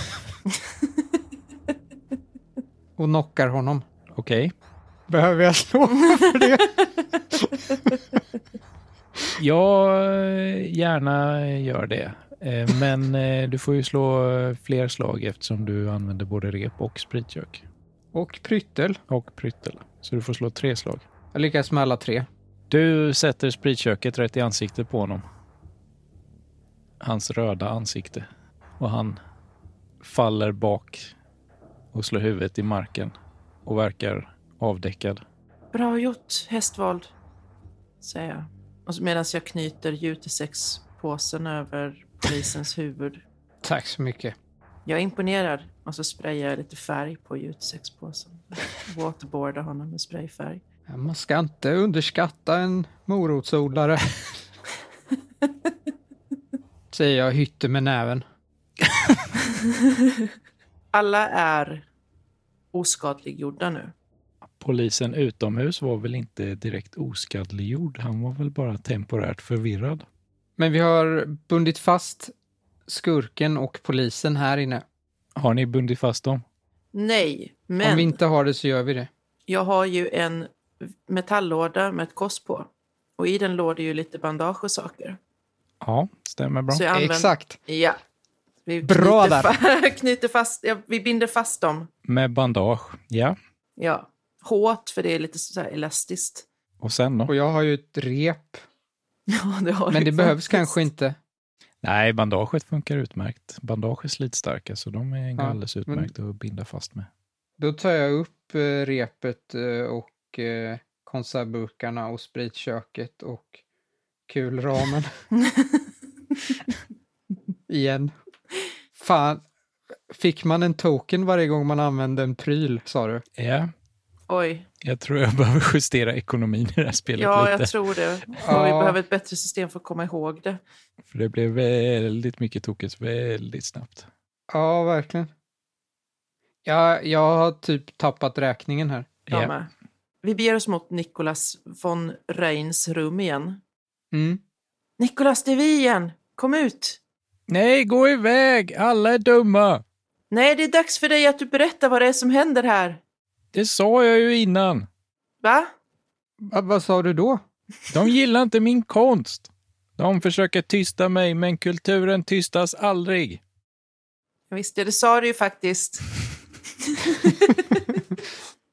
S3: och knockar honom.
S1: Okej.
S3: Behöver jag slå för det?
S1: Jag eh, gärna gör det. Eh, Men eh, du får ju slå eh, fler slag eftersom du använder både rep och spritkök.
S3: Och pryttel.
S1: Och pryttel. Så du får slå tre slag.
S3: Jag lyckas med alla tre.
S1: Du sätter spritköket rätt i ansiktet på honom. Hans röda ansikte. Och han faller bak och slår huvudet i marken och verkar avdäckad.
S2: Bra gjort, hästvåld, säger jag. Och så- medan jag knyter jutesexpåsen över polisens huvud.
S3: Tack så mycket.
S2: Jag är imponerad. Och så sprayar jag lite färg på jutesexpåsen. Waterboardar honom med sprayfärg.
S3: Man ska inte underskatta en morotsodlare. Säger jag och hytter med näven.
S2: Alla är oskadliggjorda nu.
S1: Polisen utomhus var väl inte direkt oskadliggjord. Han var väl bara temporärt förvirrad.
S3: Men vi har bundit fast skurken och polisen här inne.
S1: Har ni bundit fast dem?
S2: Nej,
S3: Om
S2: men
S3: vi inte har det så gör vi det.
S2: jag har ju en metalllåda med ett kors på. Och i den låg det ju lite bandage och saker.
S1: Ja, stämmer bra.
S2: Så jag använder...
S3: Exakt.
S2: Ja. Vi
S3: Bra
S2: knyter, fa- knyter fast, ja, vi binder fast dem.
S1: Med bandage, ja.
S2: Ja. Hårt, för det är lite så här elastiskt.
S1: Och sen då?
S3: Och jag har ju ett rep.
S2: Ja, det har
S3: Men
S2: vi
S3: det behövs
S2: faktiskt.
S3: kanske inte.
S1: Nej, bandaget funkar utmärkt. Bandage är slitstarka så de är alldeles utmärkta att binda fast med.
S3: Då tar jag upp eh, repet eh, och eh, konservburkarna och spritköket och kulramen. Igen. Fan. Fick man en token varje gång man använde en pryl, sa du?
S1: Ja,
S2: Oj.
S1: jag tror jag behöver justera ekonomin i det här spelet
S2: Ja,
S1: lite.
S2: jag tror det. Och
S3: Ja.
S2: Vi behöver ett bättre system för att komma ihåg det.
S1: För det blev väldigt mycket tokigt väldigt snabbt.
S3: Ja, verkligen. Jag, jag har typ tappat räkningen här.
S2: Jag
S1: Ja.
S2: med. Vi beger oss mot Nicolas von Reins rum igen.
S3: Mm.
S2: Nicolas, det är vi igen! Kom ut!
S1: Nej, gå iväg! Alla är dumma!
S2: Nej, det är dags för dig att du berättar vad det är som händer här.
S1: Det sa jag ju innan.
S2: Va?
S3: Va, vad sa du då?
S1: De gillar inte min konst. De försöker tysta mig, men kulturen tystas aldrig.
S2: Ja, Visst, ja, det sa du ju faktiskt.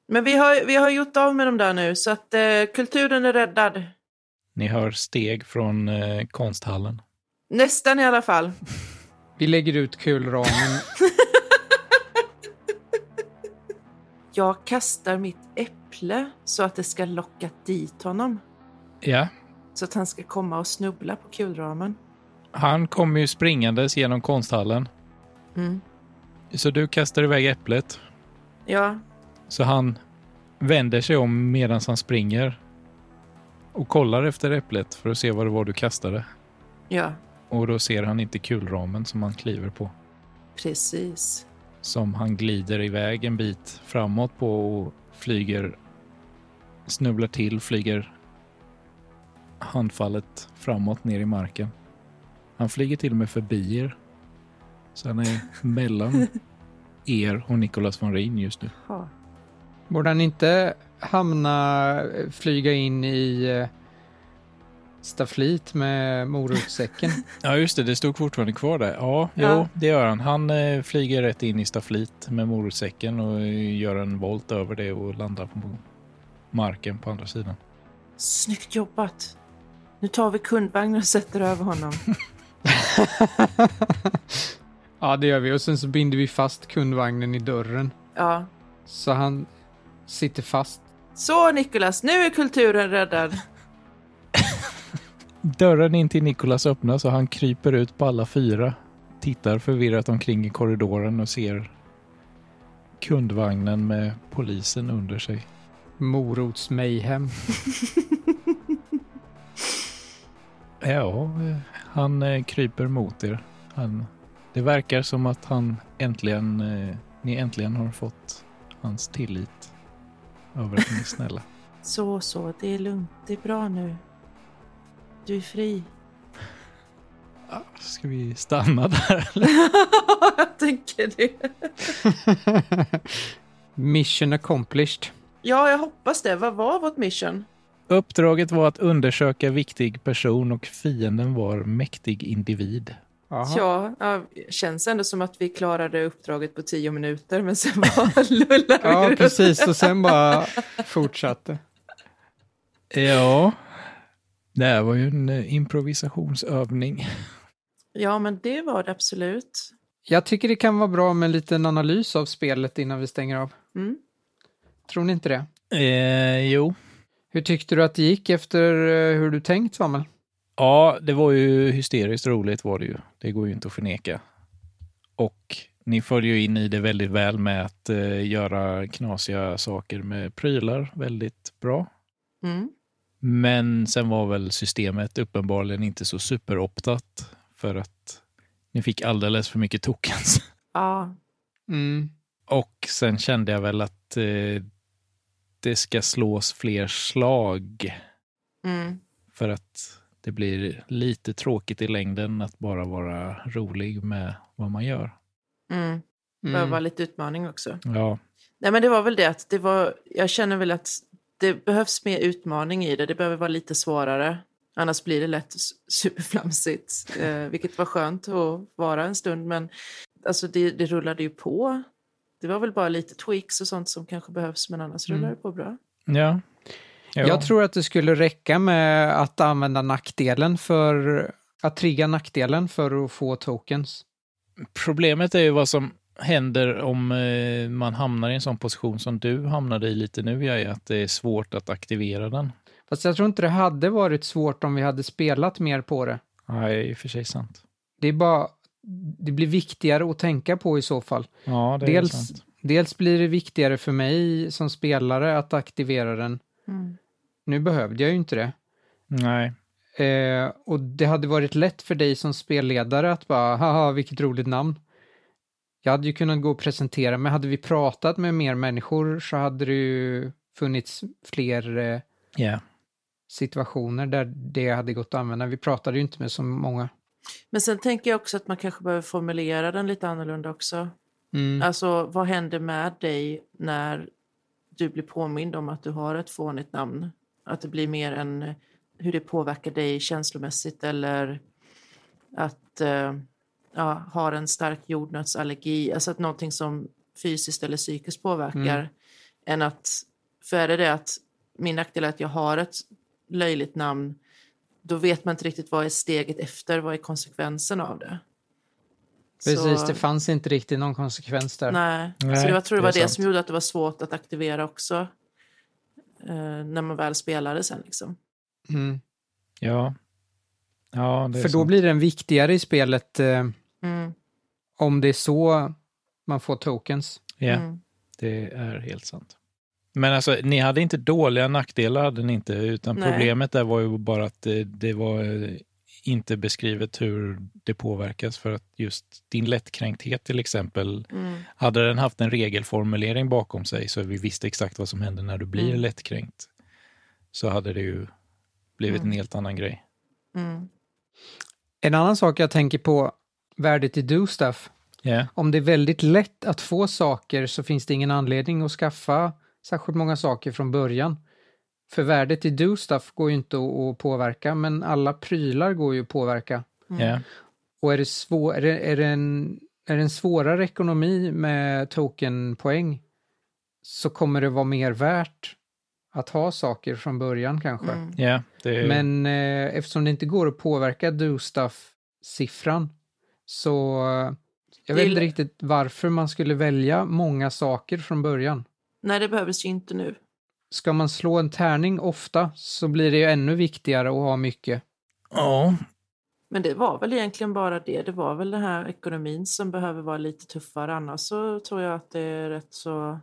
S2: Men vi har, vi har gjort av med dem där nu, så att eh, kulturen är räddad.
S1: Ni hör steg från eh, konsthallen.
S2: Nästan i alla fall.
S3: Vi lägger ut kulramen.
S2: Jag kastar mitt äpple så att det ska locka dit honom.
S1: Ja,
S2: Så att han ska komma och snubbla på kulramen.
S1: han kommer ju springandes genom konsthallen.
S2: Mm.
S1: Så du kastar iväg äpplet.
S2: Ja,
S1: Så han vänder sig om medan han springer och kollar efter äpplet för att se vad det var du kastade.
S2: ja,
S1: Och då ser han inte kulramen som han kliver på.
S2: precis.
S1: Som han glider iväg en bit framåt på och flyger, snubblar till, flyger handfallet framåt ner i marken. Han flyger till och med förbi er. Så han är mellan er och Nicolas von Rhein just nu.
S2: Ja.
S3: Borde han inte hamna, eh, flyga in i eh, stafflit med morotssäcken?
S1: Ja, just det. Det stod fortfarande kvar där. Ja, jo,
S2: Ja.
S1: det gör han. Han eh, flyger rätt in i stafflit med morotssäcken och eh, gör en volt över det och landar på marken på andra sidan.
S2: Snyggt jobbat. Nu tar vi kundvagnen och sätter över honom.
S3: ja, det gör vi. Och sen så binder vi fast kundvagnen i dörren.
S2: Ja.
S3: Så han sitter fast.
S2: Så Nicolas, nu är kulturen räddad.
S1: Dörren in till Nikolas öppnas och han kryper ut på alla fyra. Tittar förvirrat omkring i korridoren och ser kundvagnen med polisen under sig.
S3: Morotsmayhem.
S1: Ja, eh, han eh, kryper mot er. Han, det verkar som att han äntligen, eh, ni äntligen har fått hans tillit över att ni är snälla.
S2: Så, så, det är lugnt. Det är bra nu. Du är fri.
S1: Ah, Ska vi stanna där? eller?
S2: jag tänker det.
S3: Mission accomplished.
S2: Ja, jag hoppas det. Vad var vårt mission?
S1: Uppdraget var att undersöka viktig person och fienden var mäktig individ.
S3: Jaha.
S2: Ja, ja, känns ändå som att vi klarade uppdraget på tio minuter, men sen bara lullar vi
S3: Ja,
S2: runt.
S3: precis. Och sen bara fortsatte.
S1: Ja, det här var ju en eh, improvisationsövning.
S2: Ja, men det var det absolut.
S3: Jag tycker det kan vara bra med en liten analys av spelet innan vi stänger av.
S2: Mm.
S3: Tror ni inte det?
S1: Eh, jo,
S3: Hur tyckte du att det gick efter eh, hur du tänkt, Samuel?
S1: Ja, det var ju hysteriskt roligt var det ju. Det går ju inte att förneka. Och ni följer ju in i det väldigt väl med att eh, göra knasiga saker med prylar väldigt bra.
S2: Mm.
S1: Men sen var väl systemet uppenbarligen inte så superoptat för att ni fick alldeles för mycket tokens.
S2: Ja,
S3: Mm.
S1: Och sen kände jag väl att eh, det ska slås fler slag
S2: mm.
S1: För att det blir lite tråkigt i längden att bara vara rolig med vad man gör.
S2: Mm. behöver vara
S3: Mm.
S2: lite utmaning också.
S1: Ja,
S2: Nej, men det var väl det att det var, jag känner väl att det behövs mer utmaning i det. Det behöver vara lite svårare. Annars blir det lätt s- superflamsigt, eh, vilket var skönt att vara en stund. Men alltså, det, det rullade ju på. Det var väl bara lite tweaks och sånt som kanske behövs, men annars rullade det på bra.
S1: ja. ja.
S3: Jag tror att det skulle räcka med att använda nackdelen för att trigga nackdelen för att få tokens.
S1: Problemet är ju vad som händer om eh, man hamnar i en sån position som du hamnade i lite nu, jag är att det är svårt att aktivera den.
S3: Fast jag tror inte det hade varit svårt om vi hade spelat mer på det.
S1: Nej, det är i och för sig sant.
S3: Det är bara, det blir viktigare att tänka på i så fall.
S1: Ja, det
S3: Dels-
S1: är sant.
S3: Dels blir det viktigare för mig som spelare att aktivera den.
S2: Mm.
S3: Nu behövde jag ju inte det.
S1: Nej,
S3: Eh, och det hade varit lätt för dig som spelledare att bara, haha, vilket roligt namn. Jag hade ju kunnat gå och presentera, men hade vi pratat med mer människor så hade det ju funnits fler eh,
S1: ja.
S3: situationer där det hade gått att använda. Vi pratade ju inte med så många.
S2: Men sen tänker jag också att man kanske behöver formulera den lite annorlunda också.
S3: Mm.
S2: Alltså, vad händer med dig när du blir påmind om att du har ett fånigt namn? Att det blir mer än hur det påverkar dig känslomässigt eller att eh, ja, har en stark jordnötsallergi. Alltså att någonting som fysiskt eller psykiskt påverkar.
S3: Mm.
S2: Än att, för är det det att min nackdel är att jag har ett löjligt namn, då vet man inte riktigt vad är steget efter, vad är konsekvensen av det?
S3: Precis,
S2: Så-
S3: det fanns inte riktigt någon konsekvens där.
S2: Nej,
S1: Nej,
S2: så det, jag tror det
S1: det
S2: var
S1: är
S2: det
S1: sant.
S2: som gjorde att det var svårt att aktivera också. Eh, när man väl spelade sen liksom.
S3: Mm.
S1: Ja. Ja, det är
S3: För då
S1: sant.
S3: blir den viktigare i spelet eh,
S2: Mm,
S3: om det är så man får tokens.
S1: Ja.
S2: mm.
S1: Det är helt sant. Men alltså, ni hade inte dåliga nackdelar, hade ni inte, utan
S2: Nej.
S1: problemet där var ju bara att det, det var eh, inte beskrivet hur det påverkas för att just din lättkränkthet till exempel,
S2: Mm.
S1: hade den haft en regelformulering bakom sig så vi visste exakt vad som händer när du blir
S2: Mm.
S1: lättkränkt, så hade det ju blivit en helt annan grej.
S2: Mm.
S3: En annan sak jag tänker på, värdet i do stuff.
S1: Ja,
S3: Om det är väldigt lätt att få saker så finns det ingen anledning att skaffa särskilt många saker från början. För värdet i do stuff går ju inte att att påverka, men alla prylar går ju att påverka.
S1: ja,
S3: Och är det, svår, är det, är det, en, är det en svårare ekonomi med tokenpoäng så kommer det vara mer värt att ha saker från början kanske.
S2: Mm.
S1: ja, det,
S3: Men eh, eftersom det inte går att påverka do stuff-siffran så eh, jag
S2: Det är
S3: vet inte
S2: l-
S3: riktigt varför man skulle välja många saker från början.
S2: Nej, det behövdes ju inte nu.
S3: Ska man slå en tärning ofta så blir det ju ännu viktigare att ha mycket.
S1: ja,
S2: Men det var väl egentligen bara det. Det var väl den här ekonomin som behöver vara lite tuffare. Annars så tror jag att det är rätt så...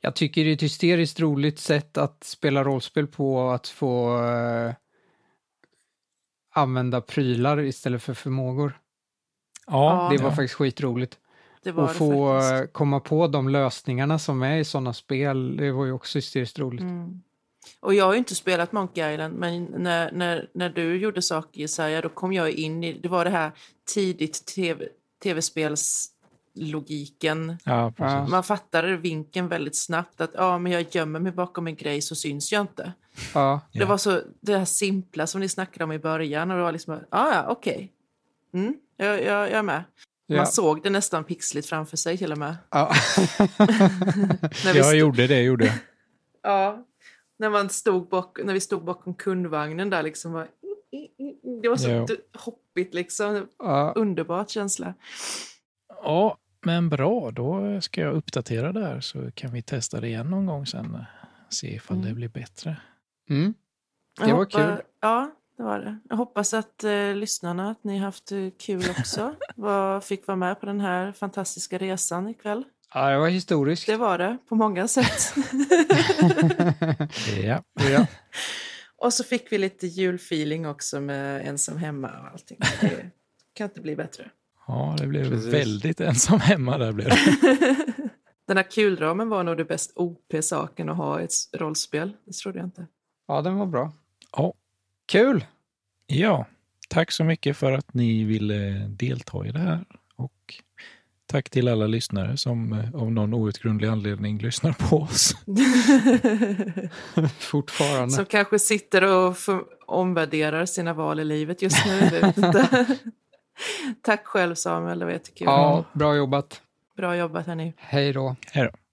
S3: Jag tycker det är ett hysteriskt roligt sätt att spela rollspel på, att få eh, använda prylar istället för förmågor.
S1: Ja,
S2: Ja.
S3: det var faktiskt skitroligt.
S2: Det var
S3: Och få
S2: det
S3: eh,
S2: faktiskt.
S3: komma på de lösningarna som är i sådana spel, det var ju också hysteriskt roligt.
S2: Mm. Och jag har ju inte spelat Monkey Island, men när, när, när du gjorde saker Jesaja, då kom jag in i, det var det här tidigt TV, tv-spelslogiken.
S1: ja precis.
S2: Man fattade vinken väldigt snabbt att ja, men jag gömmer mig bakom en grej så syns jag inte.
S3: Ja.
S1: Ja.
S2: Det var så det här simpla som ni snackade om i början och det var liksom, ja, ja, okej. Mm, jag, jag, jag är med.
S3: Ja.
S2: Man såg det nästan pixligt framför sig till och med.
S3: Ja.
S2: När vi
S1: Jag
S2: stod-
S1: gjorde det, jag gjorde. det.
S2: Ja, när, man stod bak, när vi stod bakom kundvagnen där liksom. Var, det var så
S1: Jo.
S2: d- hoppigt liksom.
S3: ja.
S2: Underbart känsla.
S1: Ja, men bra. Då ska jag uppdatera det här så kan vi testa det igen någon gång sen. eh, Se ifall
S2: Mm.
S1: det blir bättre.
S3: Mm.
S2: Jag
S3: Det var
S2: hoppa-
S3: kul.
S2: Ja, det var det. Jag hoppas att eh, lyssnarna, att ni haft eh, kul också. var, fick vara med på den här fantastiska resan ikväll.
S3: ja, det var historiskt.
S2: Det var det, på många sätt.
S1: Ja.
S3: ja.
S2: och så fick vi lite julfeeling också med ensam hemma och allting. Det kan inte bli bättre.
S1: Ja, det blev
S3: Precis.
S1: väldigt ensam hemma där blev det.
S2: Den här kulramen var nog det bäst OP-saken att ha i ett s- rollspel. Det trodde jag inte.
S3: ja, den var bra.
S1: Ja.
S3: Kul!
S1: Ja, tack så mycket för att ni ville eh, delta i det här. Och tack till alla lyssnare som eh, av någon outgrundlig anledning lyssnar på oss.
S3: Fortfarande.
S2: Som kanske sitter och för- omvärderar sina val i livet just nu. Jag vet inte. Tack själv Samuel, det var jättekul.
S3: ja, bra jobbat.
S2: Bra jobbat hörni.
S3: Hej då.
S1: Hej då.